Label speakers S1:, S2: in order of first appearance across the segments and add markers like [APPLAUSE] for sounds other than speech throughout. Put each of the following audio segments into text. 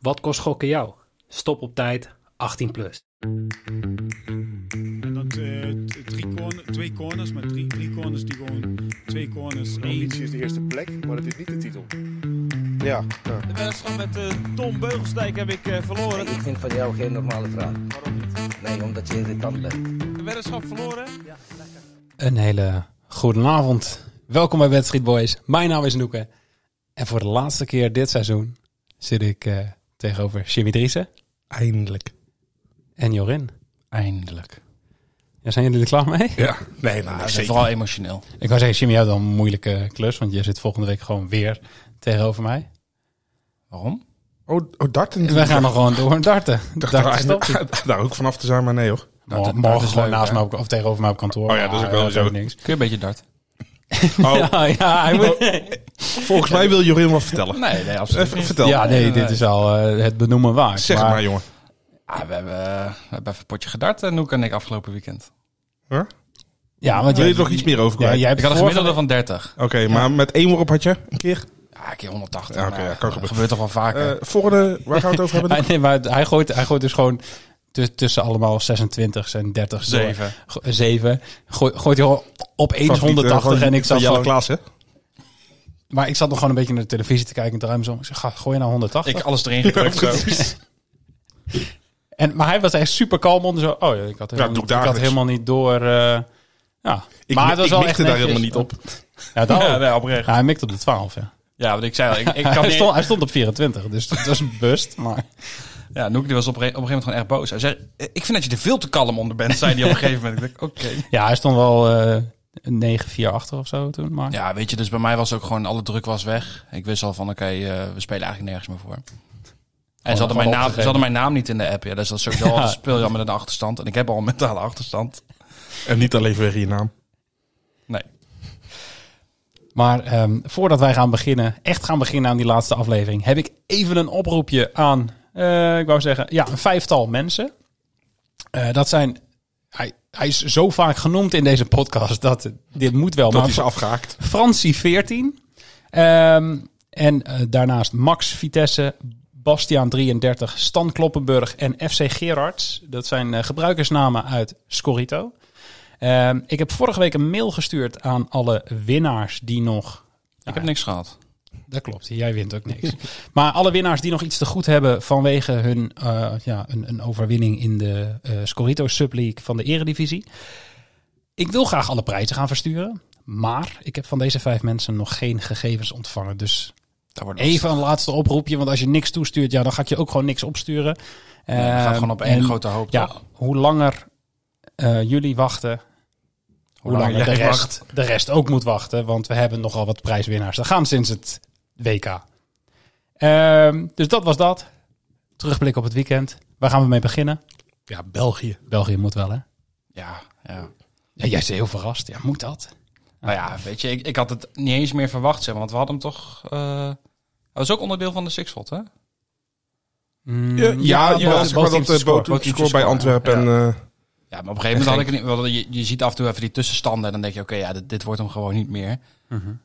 S1: Wat kost gokken jou? Stop op tijd 18 plus.
S2: En dat eh, t- drie corner, twee corners, maar drie, drie corners die gewoon twee corners.
S3: De
S2: één.
S3: ambitie is de eerste plek, maar het is niet de titel. Ja, ja.
S4: De wedstrijd met eh, Tom Beugelsdijk heb ik eh, verloren.
S5: Ik vind van jou geen normale vraag. Waarom niet? Nee, omdat je irritant bent.
S4: De weddenschap verloren.
S1: Een hele goede avond. Welkom bij Wet Street Boys. Mijn naam is Noeke. En voor de laatste keer dit seizoen zit ik eh, tegenover Jimmy Driessen
S6: Eindelijk.
S1: en Jorin.
S7: Eindelijk.
S1: Ja, zijn jullie er klaar mee?
S6: Ja. Nee, maar
S7: Dat is
S6: zeker.
S7: vooral emotioneel.
S1: Ik wou zeggen, Jimmy, jij hebt dan een moeilijke klus, want je zit volgende week gewoon weer tegenover mij.
S7: Waarom?
S6: Oh, oh darten.
S1: En wij gaan nog gewoon door
S6: [LAUGHS]
S1: darten.
S6: Dacht
S1: Darten
S6: er
S1: stopt niet.
S6: eigenlijk- [LAUGHS] daar ook vanaf te zijn, maar nee hoor.
S7: Dat- dat
S1: Mor- Morgen
S7: is
S1: gewoon
S7: leuk,
S1: naast
S7: hè?
S1: mij op, of tegenover mij op kantoor.
S6: Oh ja, dat is ook
S1: Maar,
S6: wel
S1: eh,
S6: zo.
S1: ook niks.
S7: Kun je een
S1: [LAUGHS]
S7: beetje dart?
S6: Oh,
S1: [LAUGHS] Ja, ja, hij moet-
S6: [LAUGHS] volgens mij wil Jorin wat vertellen.
S7: Nee, nee, absoluut
S6: Even vertel.
S1: ja, nee, dit is al eh, het benoemen waard.
S6: zeg het maar, jongen.
S7: Ah, we, hebben, eh, we hebben even een potje gedart, eh, Noek en ik, afgelopen weekend.
S1: Ja, want
S6: Wil
S1: jij,
S6: je er nog iets meer over
S1: ja,
S6: kwijt?
S1: jij hebt
S7: Ik had een
S1: vorige-
S7: gemiddelde van 30.
S6: Oké, maar met één woord op had je een keer.
S7: Ja, een keer 180.
S6: Ja, oké,
S7: maar
S6: ja, kan
S7: dat
S6: gebeuren.
S7: gebeurt toch wel vaker.
S6: Eh, volgende, waar gaan we het over
S1: [LAUGHS]
S6: hebben?
S1: Hij, nee, maar het- hij, gooit, hij gooit dus gewoon tu- tussen allemaal 26 en 30 door.
S7: Zeven.
S1: Go- zeven. Gooi, gooit hij gewoon op
S6: Van
S1: eens
S6: die, eh,
S1: 180
S6: van-
S1: en ik
S6: van
S1: zat
S6: Jelle
S1: gewoon,
S6: Klaas, hè?
S1: Maar ik zat nog gewoon een beetje naar de televisie te kijken in het ruim zo. Ik zeg, ga, gooi nou naar 180.
S7: ik alles erin gedrukt. zo.
S1: en, maar hij was echt super kalm onder zo. Oh ja, ik had helemaal,
S6: doe
S1: niet, ik had
S6: ik dagelijks.
S1: helemaal niet door. eh, ja.
S6: Ik,
S1: maar het was
S6: ik
S1: wel
S6: mikte
S1: echt
S6: daar
S1: netjes.
S6: helemaal niet op.
S1: Ja,
S6: [LAUGHS]
S1: dat
S7: Ja,
S1: ook.
S7: nee, oprecht.
S1: Ja, hij mikte op de 12, ja.
S7: Ja, want ik zei al, ik, [LAUGHS] ik kan
S1: hij,
S7: niet...
S1: stond, hij stond op 24, dus dat was een bust. Maar
S7: Ja, Noek die was op, een- op een gegeven moment gewoon erg boos. Hij zei, eh, ik vind dat je er veel te kalm onder bent, zei hij op een gegeven moment. Ik dacht, oké.
S1: ja, hij stond wel eh 9-4 achter of zo toen. Maar
S7: Ja, weet je, dus bij mij was ook gewoon, alle druk was weg. Ik wist al van, oké, eh, we spelen eigenlijk nergens meer voor. En ze hadden,
S1: gewoon
S7: mijn naam, ze
S1: opgegeven.
S7: hadden mijn naam niet in de app. Oh, Ja, dus dat is sowieso al-
S1: Ja.
S7: speel je al met een achterstand. En ik heb al een mentale achterstand.
S6: En niet alleen weer je naam.
S7: Nee.
S1: Maar ehm, voordat wij gaan beginnen, echt gaan beginnen aan die laatste aflevering, heb ik even een oproepje aan, eh, ik wou zeggen, ja, een vijftal mensen. Eh, dat zijn, hij, hij is zo vaak genoemd in deze podcast dat dit moet wel.
S6: Dat
S1: maar
S6: is afgehaakt.
S1: Francie 14. Ehm, en eh, daarnaast Max Vitesse, Bastiaan 33, Stan Kloppenburg en FC Gerards. Dat zijn eh, gebruikersnamen uit Scorito. Ehm, ik heb vorige week een mail gestuurd aan alle winnaars die nog...
S7: Ik heb niks gehad.
S1: Dat klopt, jij wint ook niks. [LAUGHS] maar alle winnaars die nog iets te goed hebben vanwege hun eh, ja, een, een overwinning in de eh Scorito Subleague van de Eredivisie. Ik wil graag alle prijzen gaan versturen. Maar ik heb van deze vijf mensen nog geen gegevens ontvangen. Dus
S7: Daar wordt
S1: even een laatste oproepje. Want als je niks toestuurt, ja, dan gaat je ook gewoon niks opsturen.
S7: het gaat
S1: Ehm,
S7: gewoon op één
S1: en
S7: grote hoop.
S1: Ja,
S7: toch?
S1: hoe langer eh, jullie wachten, hoe
S7: langer
S1: langer de
S7: jij
S1: rest, de rest ook moet wachten. Want we hebben nogal wat prijswinnaars. Dat gaan sinds het WK. Ehm, dus dat was dat. Terugblik op het weekend. Waar gaan we mee beginnen?
S6: Ja, België.
S1: België moet wel, hè?
S7: Ja, ja.
S1: Ja, jij is heel verrast. Ja, moet dat?
S7: Nou ja, weet je, ik, ik had het niet eens meer verwacht, zeg maar. Want we hadden hem toch... eh hij was ook onderdeel van de Sixfold, hè?
S1: Mm,
S6: Ja, ja,
S1: Bo-
S6: ja, zeg maar
S1: Bo-
S6: dat eh,
S1: score.
S6: Boot
S7: Boot
S6: score bij
S7: score,
S6: Antwerpen. En, eh,
S7: Ja, maar op een gegeven moment had ik het niet. wel, Je, je ziet af en toe even die tussenstanden. En dan denk je, oké, ja, dit, dit wordt hem gewoon niet meer.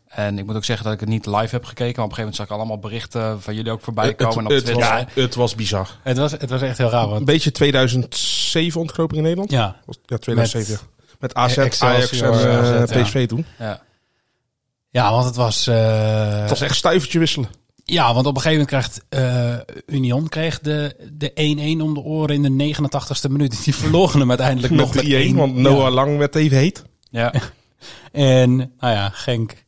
S7: En ik moet ook zeggen dat ik het niet live heb gekeken. Maar op een gegeven moment zag ik allemaal berichten van jullie ook voorbij
S6: het-
S7: komen. en op
S6: het was-
S7: Twitter.
S6: ja, Het was bizar.
S1: Het was, het was echt heel raar.
S6: Een
S1: Want,
S6: beetje 2007 ontknoping in Nederland.
S1: ja,
S6: Was- Ja, 2007. Met, AZ,
S1: Excelsior,
S6: Ajax en
S1: eh,
S6: eh,
S1: AZ, ja.
S6: PSV toen.
S7: Ja.
S1: ja, want het was... eh,
S6: Het was echt stuivertje wisselen.
S1: Ja, want op een gegeven moment krijgt eh, Union kreeg de, de 1-1 om de oren in de 89ste minuut. [LAUGHS] Die verloren hem uiteindelijk nog
S6: Met
S1: met
S6: 3-1,
S1: één.
S6: want Noah Lang werd even heet.
S7: Ja.
S1: En, nou ja, Genk,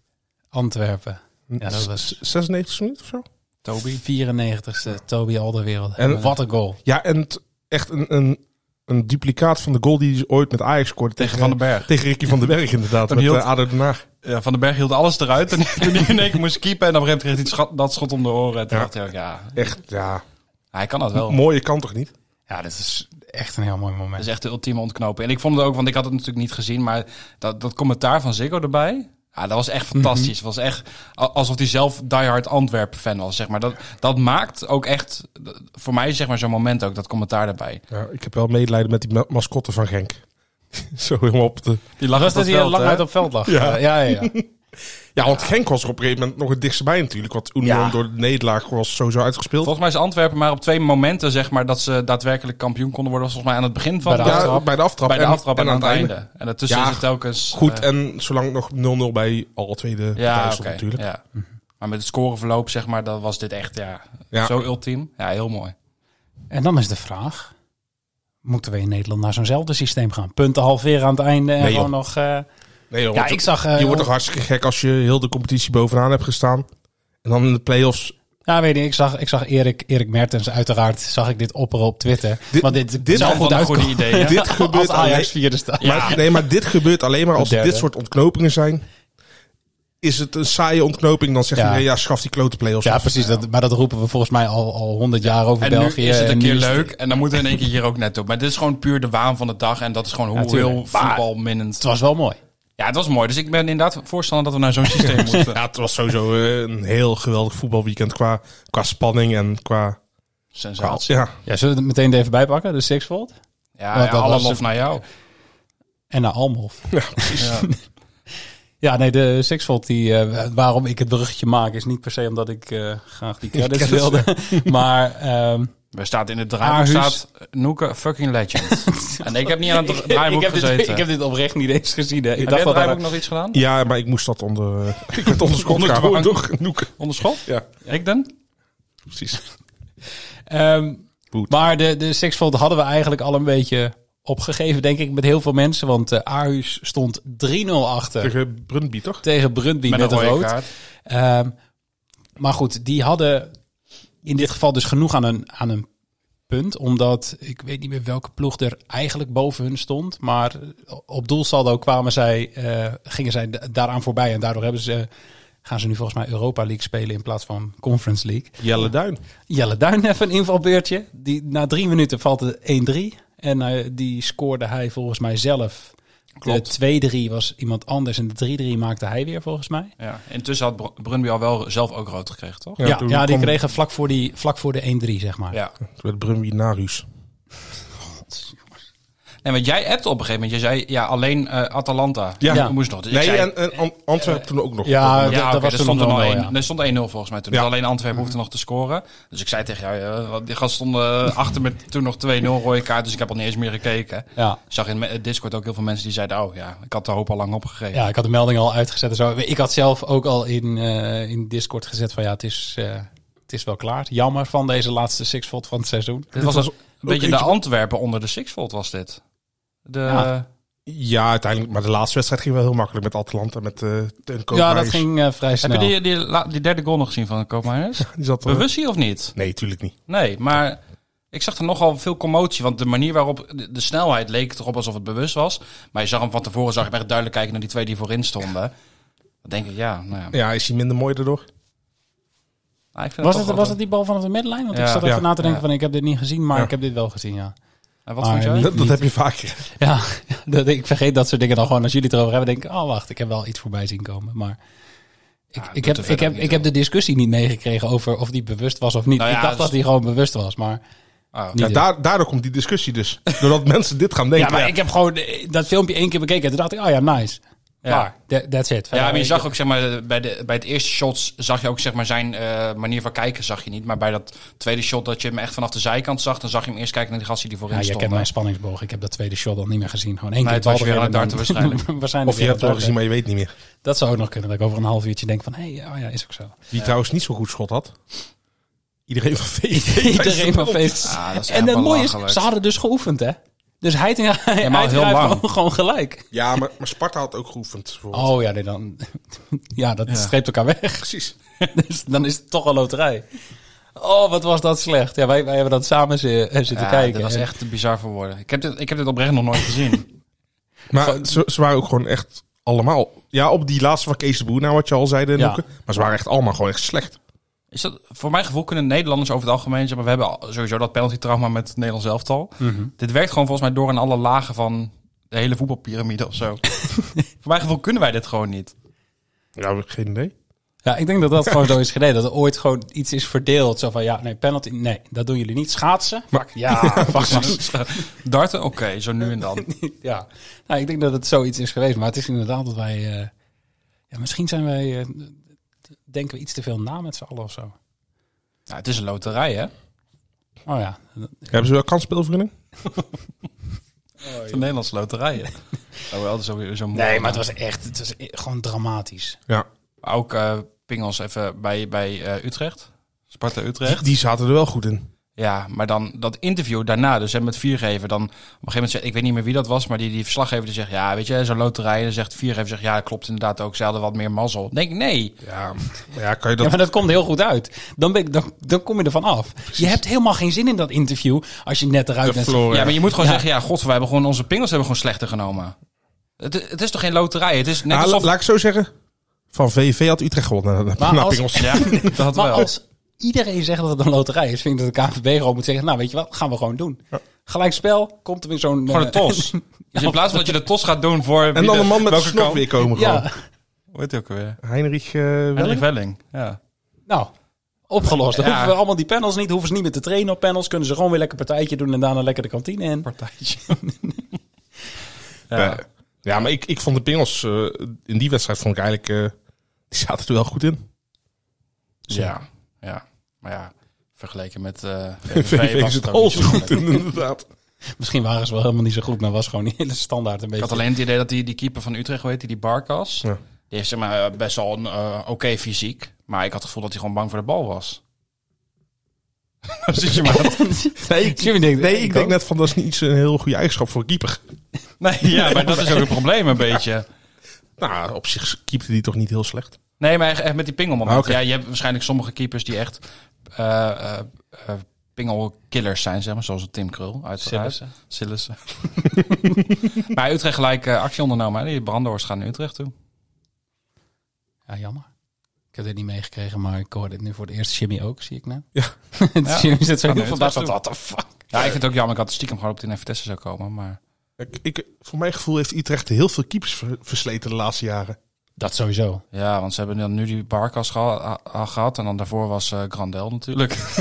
S1: Antwerpen. Ja, dat was-
S6: S- 96 minuten of zo.
S1: Toby. 94ste, Toby Alderwereld. En
S6: En-
S1: wat een goal.
S6: Ja, en het- echt een, een, een duplicaat van de goal die hij ooit met Ajax scoorde.
S7: [LAUGHS] Tegen Van den Berg.
S6: Tegen Ricky van den Berg inderdaad,
S7: Dat
S6: met
S7: hield-
S6: eh, ADO Den Haag.
S7: ja, Van den Berg hield alles eruit. En [LAUGHS] toen hij in één keer moest keepen. En op een gegeven moment kreeg hij het schot- dat schot om de oren. En toen
S6: Ja.
S7: dacht ik, ook, ja,
S6: Echt, ja.
S7: hij kan dat wel.
S6: Mooie kant toch niet?
S1: Ja, dat is echt een heel mooi
S7: Dat
S1: moment.
S7: is echt de ultieme ontknoping. En ik vond het ook, want ik had het natuurlijk niet gezien, maar dat, dat commentaar van Ziggo erbij. Ja, dat was echt fantastisch. Het was echt a- alsof hij zelf diehard Antwerpen-fan was, zeg maar. Dat, dat maakt ook echt, d- voor mij zeg maar zo'n moment ook, dat commentaar erbij.
S6: Ja, ik heb wel medelijden met die ma- mascotte van Genk. [LAUGHS] zo helemaal op de...
S7: Die lag [LAUGHS]
S1: was dat hij lang uit op veld lag.
S6: Ja.
S1: ja, ja. ja.
S6: Ja, Ja, want Genk was er op een gegeven moment nog het dichtst bij natuurlijk. Want Union
S7: Ja.
S6: door de nederlaag was sowieso uitgespeeld.
S7: Volgens mij is Antwerpen maar op twee momenten zeg maar, dat ze daadwerkelijk kampioen konden worden. was volgens mij aan het begin van
S1: Bij de
S6: ja,
S7: de, aftrap,
S6: bij de aftrap.
S7: bij de aftrap en, aan het einde. En daartussen
S6: Ja,
S7: is het telkens...
S6: Goed,
S7: eh,
S6: en zolang nog 0-0 bij alle tweede
S7: ja,
S6: partijen
S7: oké.
S6: stond natuurlijk.
S7: Ja. Maar met het scoreverloop zeg maar, dat was dit echt ja,
S6: Ja.
S7: zo ultiem. Ja, heel mooi.
S1: En dan is de vraag: moeten we in Nederland naar zo'nzelfde systeem gaan? Punten halveren aan het einde en
S6: Nee, joh.
S1: gewoon nog. eh,
S6: Nee, joh,
S1: ja,
S6: want
S1: ik zag. eh,
S6: je wordt toch hartstikke gek als je heel de competitie bovenaan hebt gestaan. En dan in de play-offs.
S1: Ja, weet je, ik zag, ik zag Erik, Erik Mertens uiteraard, zag ik dit opperen op Twitter.
S6: Dit-
S1: want dit, zou
S6: dit zijn
S1: goed
S7: wel een
S1: uitkomen.
S7: goede ideeën.
S6: Dit
S1: [LAUGHS]
S6: gebeurt
S1: als
S6: alleen-
S1: Ajax vierde staat. Ja.
S6: Maar, nee, maar dit gebeurt alleen maar als er
S1: Derde.
S6: dit soort ontknopingen zijn. Is het een saaie ontknoping, dan zeg je,
S1: Ja.
S6: nee, ja, schaf die klote play-offs. af.
S1: precies. Dat, maar dat roepen we volgens mij al al honderd jaar over
S7: En
S1: België.
S7: nu is het
S1: en
S7: een
S1: nu
S7: keer
S1: is het-
S7: leuk. En dan moeten we in één keer hier ook net op. Maar dit is gewoon puur de waan van de dag. En dat is gewoon hoe
S1: Ja, tuurlijk.
S7: heel
S1: Maar-
S7: voetbalminnend.
S1: Het was wel mooi.
S7: Ja, het was mooi. Dus ik ben inderdaad voorstander dat we
S1: [LAUGHS]
S7: naar zo'n systeem moeten.
S6: Ja, het was sowieso eh, een heel geweldig voetbalweekend qua, qua spanning en qua...
S7: Sensatie.
S6: Ja,
S1: Ja, zullen we het meteen er even bij pakken? De Sixfold
S7: Ja,
S1: Want
S7: ja,
S1: dat
S7: alle
S1: was
S7: lof
S1: het-
S7: naar jou.
S1: en naar Almhof.
S7: Ja.
S1: Ja, nee, de Sixfold, die, eh, waarom ik het bruggetje maak, is niet per se omdat ik eh, graag
S7: [LAUGHS]
S1: die credits wilde. maar ehm,
S7: We staat in het
S1: Aarhus.
S7: draaiboek staat Noeke
S1: [LAUGHS]
S7: fucking legend. en ik heb niet aan het draaiboek
S1: ik, heb
S7: gezeten.
S1: dit, ik heb dit oprecht niet eens gezien. Hè. Ik
S7: Heb
S1: dacht
S7: jij het
S1: dat
S7: draaiboek
S1: daar...
S7: nog iets gedaan?
S6: ja maar ik moest dat onder... eh, [LAUGHS] ik werd onder schot
S7: Onder
S6: [LAUGHS] gehouden
S7: dwang.
S6: door Noeke.
S7: Onder schot?
S6: Ja.
S7: Ik dan?
S6: Precies.
S1: Ehm,
S6: Goed.
S1: maar de, de Sixfold hadden we eigenlijk al een beetje opgegeven, denk ik, met heel veel mensen. Want eh Aarhus stond 3-0 achter
S6: Tegen Brundby, toch?
S1: tegen Brundby met,
S7: Met een
S1: een
S7: rode
S1: rood.
S7: kaart.
S1: Ehm, maar goed, die hadden in dit geval dus genoeg aan een, aan een punt. Omdat ik weet niet meer welke ploeg er eigenlijk boven hun stond. Maar eh, op doelsaldo kwamen zij, eh, gingen zij da- daaraan voorbij. En daardoor hebben ze, eh, gaan ze nu volgens mij Europa League spelen in plaats van Conference League.
S6: Jelle Duin.
S1: Jelle Duin even een invalbeertje. Die, na drie minuten valt het 1-3. En eh, die scoorde hij volgens mij zelf. De 2-3 was iemand anders en de 3-3 maakte hij weer volgens mij.
S7: Ja. Intussen had Br- Brunby al wel zelf ook rood gekregen, toch?
S1: Ja, ja,
S6: toen
S1: die
S6: kwam-
S1: kregen vlak voor, die, vlak voor de 1-3, zeg maar.
S7: Ja.
S6: Toen werd Brumby naar Ruus.
S7: Nee, want jij appte op een gegeven moment. Je zei ja, alleen eh, Atalanta.
S6: Ja.
S7: Dat moest nog. Dus ik
S6: Nee,
S7: zei-
S6: en, eh, en Ant- Antwerpen toen ook nog.
S1: Ja,
S7: Ja,
S1: dat- dat
S7: oké,
S1: was
S7: er
S1: toen
S7: stond
S1: nog
S7: er nog
S1: wel,
S7: één-
S1: ja.
S7: Er stond 1-0 volgens mij toen.
S6: Ja.
S7: Dus alleen Antwerpen hoefde nog te scoren. Dus ik zei tegen jou, eh, wat- die gast stonden achter met toen nog 2-0 rode kaart. Dus ik heb al niet eens meer gekeken.
S1: Ja.
S7: Ik zag in me- eh, Discord ook heel veel mensen die zeiden, oh ja, ik had de hoop al lang opgegeven.
S1: Ja, ik had de melding al uitgezet en zo. Ik had zelf ook al in, eh, in Discord gezet van ja, het is, eh, het is wel klaar. Jammer van deze laatste sixfold van het seizoen.
S7: Dit was,
S6: was
S7: een
S6: ook
S7: beetje de
S6: eentje-
S7: Antwerpen onder de Sixfold was dit. De,
S1: Ja.
S6: Ja, uiteindelijk. Maar de laatste wedstrijd ging wel heel makkelijk met Atalanta. Met eh Teun
S1: ja,
S6: Koopmeiners.
S1: dat ging eh, vrij
S7: Heb
S1: snel.
S7: je die, die, la- die derde goal nog gezien van Koopmeiners?
S6: Die zat er-
S7: Bewust hier of niet?
S6: Nee, tuurlijk niet.
S7: Nee, maar ik zag er nogal veel commotie. Want de manier waarop de, de snelheid leek het erop alsof het bewust was. Maar je zag hem van tevoren zag je hem echt duidelijk kijken naar die twee die voorin stonden. Dan denk ik, ja, nou ja.
S6: Ja, is hij minder mooi daardoor?
S7: Ah, ik vind
S1: Was
S7: toch
S1: het,
S7: wel-
S1: was het die bal vanaf de middenlijn? Want ik
S7: Ja.
S1: zat even
S6: Ja.
S1: na te denken
S7: Ja.
S1: van ik heb dit niet gezien, maar
S6: Ja.
S1: ik heb dit wel gezien, ja.
S7: En wat
S1: Ah,
S7: vond
S1: ja,
S7: jij?
S1: niet-
S6: Dat, dat heb je vaker.
S1: Ja, [LAUGHS] dat, ik vergeet dat soort dingen dan gewoon als jullie het erover hebben. Denk ik, oh wacht, ik heb wel iets voorbij zien komen. Maar ik,
S7: Ja, doet
S1: ik, heb,
S7: er verder
S1: ik, heb,
S7: niet
S1: ik heb
S7: toe.
S1: de discussie niet meegekregen over of die bewust was of niet.
S7: Nou ja,
S1: ik dacht
S7: dus-
S1: dat hij gewoon bewust was, maar...
S7: Oh.
S1: niet
S6: Ja, daar, daardoor komt die discussie dus. Doordat mensen dit gaan
S1: Ja,
S6: denken.
S1: maar ik heb gewoon eh, dat filmpje één keer bekeken. En toen dacht ik, oh ja, nice.
S7: Ja.
S1: Maar, that- that's it.
S7: Ja, maar je
S1: ik-
S7: zag ook, zeg maar, bij, de, bij het eerste shot zag je ook, zeg maar, zijn eh, manier van kijken zag je niet. Maar bij dat tweede shot dat je hem echt vanaf de zijkant zag, dan zag je hem eerst kijken naar die gasten die voorin
S1: Ja, jij
S7: stonden.
S1: kent mijn spanningsboog. Ik heb dat tweede shot al niet meer gezien. Gewoon één
S7: Nee,
S1: keer
S7: het was
S1: bal
S7: weer
S1: erin
S7: aan het
S1: en
S7: darten
S1: dan- [LAUGHS]
S7: waarschijnlijk.
S1: waarschijnlijk
S6: Of je
S1: weer
S6: hebt
S1: aan
S6: het wel
S1: het darten.
S6: gezien, maar je weet niet meer.
S1: Dat zou ook nog kunnen. Dat ik over een half uurtje denk van, hé, hey, oh ja, is ook
S7: [LAUGHS]
S1: zo.
S6: Wie trouwens niet zo'n goed schot had. Iedereen van VVV. [LAUGHS]
S1: Iedereen van feest.
S7: Ah, dat is echt
S1: en het mooie is,
S7: belachelijk.
S1: ze hadden dus geoefend, hè? Dus hij en
S7: Ja, maar al heel lang.
S1: gewoon gelijk.
S6: Ja, maar, maar Sparta had ook geoefend. bijvoorbeeld.
S1: Oh ja, nee, dan, [LAUGHS] ja dat streept elkaar weg. [LAUGHS]
S6: Precies.
S1: Dus dan is het toch een loterij. Oh, wat was dat slecht. Ja, wij, wij hebben dat samen zi- eh, zitten
S7: Ja,
S1: kijken.
S7: dat was
S1: En-
S7: echt te bizar voor woorden. Ik heb dit, ik heb dit oprecht nog nooit
S1: [LAUGHS]
S7: gezien.
S6: Maar ze, ze waren ook gewoon echt allemaal... Ja, op die laatste van Kees de Boer, nou wat je al zei,
S1: Ja.
S6: Noeke. Maar ze waren echt allemaal gewoon echt slecht.
S7: Is dat, voor mijn gevoel kunnen Nederlanders over het algemeen, zeg maar, we hebben al- sowieso dat penalty-trauma met het Nederlands elftal.
S1: Mhm.
S7: Dit werkt gewoon volgens mij door in alle lagen van de hele voetbalpyramide of zo. voor mijn gevoel kunnen wij dit gewoon niet.
S6: Ja, geen idee.
S1: Ja, ik denk dat [LAUGHS] dat gewoon zo is gedaan. Dat er ooit gewoon iets is verdeeld. Zo van, ja, nee, penalty, nee, dat doen jullie niet. Schaatsen? Fuck, [LAUGHS] ja, fuck,
S7: [LAUGHS]
S1: man.
S7: Darten, oké, zo nu en dan.
S1: ja. Nou, ik denk dat het zoiets is geweest. Maar het is inderdaad dat wij... eh, Ja, misschien zijn wij, eh, denken we iets te veel na met z'n allen of zo.
S7: Ja, het is een loterij, hè?
S1: Oh ja,
S6: Hebben ze wel kansspelvergunning?
S7: Het is een Nederlandse loterij. hè? Oh, wel, dat is ook weer zo'n
S1: Nee, maar het was echt, het was e- gewoon dramatisch.
S6: Ja.
S7: Ook eh pingels even bij, bij eh, Utrecht. Sparta Utrecht.
S6: Die zaten er wel goed in.
S7: Ja, maar dan dat interview daarna, dus hè, met Viergever, dan op een gegeven moment zegt, ik weet niet meer wie dat was, maar die, die verslaggever die zegt, ja, weet je, zo'n loterij, dan zegt Viergever, zegt, ja, dat klopt inderdaad ook, ze hadden wat meer mazzel. Dan Denk ik, nee,
S6: Ja, maar ja kan je dat...
S1: Ja, maar dat komt heel goed uit. Dan, ben ik, dan, dan kom je ervan af. Je hebt helemaal geen zin in dat interview als je net eruit bent.
S6: verloren.
S7: ja, maar je moet gewoon
S1: Ja.
S7: zeggen, ja, god, wij hebben gewoon, onze pingels hebben gewoon slechter genomen. Het, het is toch geen loterij, het is net
S6: Nou,
S7: alsof...
S6: Laat ik zo zeggen. Van VV had Utrecht [LAUGHS] gewonnen.
S1: Maar
S6: Na,
S1: als-
S6: Pingels.
S7: Ja, [LAUGHS] dat
S1: Maar
S7: wel.
S1: als iedereen zegt dat het een loterij is, vind ik dat de KVB gewoon moet zeggen, nou weet je wat, gaan we gewoon doen. Gelijk spel, komt er weer zo'n...
S7: Gewoon
S1: eh,
S7: een tos. Dus in plaats van dat je de tos gaat doen voor...
S6: En dan een man met een
S7: welke
S6: snor
S7: kant-
S6: weer komen gewoon.
S1: ja,
S7: Hoe heet die ook weer?
S6: Heinrich eh, Welling?
S7: Welling? Welling, ja.
S1: [LAUGHS] nou, opgelost. Dan
S7: Ja.
S1: hoeven we allemaal die panels niet, hoeven ze niet meer te trainen op panels, kunnen ze gewoon weer lekker partijtje doen en daarna lekker de kantine in.
S6: [LAUGHS]
S7: Partijtje.
S6: Ja. Ja, maar ik, ik vond de Pingels eh, in die wedstrijd vond ik eigenlijk... eh, die zaten er wel goed in.
S7: Ja, ja. Maar ja, vergeleken
S6: [LAUGHS]
S7: met eh
S6: VV
S7: VVV was
S6: is
S7: het
S6: het
S7: ook
S6: al
S7: niet
S6: zo
S7: zo
S6: goed
S7: slecht.
S6: in, [LAUGHS] inderdaad.
S1: Misschien waren ze wel helemaal niet zo goed, maar was gewoon die hele standaard een
S7: Ik
S1: beetje.
S7: had alleen het idee dat die, die keeper van Utrecht, weet je, die Barkas,
S6: Ja.
S7: die heeft zeg maar eh, best wel een eh, oké fysiek, maar ik had het gevoel dat hij gewoon bang voor de bal was. [LAUGHS] Zit je maar.
S6: Nee, ik,
S1: [LAUGHS] Jimmy denkt,
S6: nee,
S1: ik
S6: ik denk
S1: ook.
S6: net van dat is niet zo'n heel goede eigenschap voor een keeper.
S7: [LAUGHS] Nee, ja, maar dat is ook een probleem een beetje.
S6: Nou, op zich keepte die toch niet heel slecht.
S7: Nee, maar echt, echt met die pingelmoment.
S6: Ah, oké.
S7: Ja, je hebt waarschijnlijk sommige keepers die echt eh, eh, eh, pingelkillers zijn, zeg maar. Zoals een Tim Krul, uiteraard.
S1: Sillissen.
S7: Sillissen. [LAUGHS] maar Utrecht gelijk eh, actie ondernomen. hè. Die brandhorst gaan naar Utrecht toe.
S1: Ja, jammer. Ik heb dit niet meegekregen, maar ik hoor dit nu voor het eerst. Jimmy ook, zie ik net. [LAUGHS]
S6: Ja.
S1: Jimmy zit zo
S7: Gaan
S1: heel
S7: naar
S1: verbaasd.
S7: Utrecht toe.
S1: What the fuck?
S7: Ja, ik vind het ook jammer. Ik had het stiekem gehoopt dat in Vitesse zou komen. Maar
S6: Ik, ik, voor mijn gevoel heeft Utrecht heel veel keepers ver- versleten de laatste jaren.
S1: Dat sowieso.
S7: ja, want ze hebben dan nu die Barkas geha- ha- ha- gehad. En dan daarvoor was eh, Grandel natuurlijk.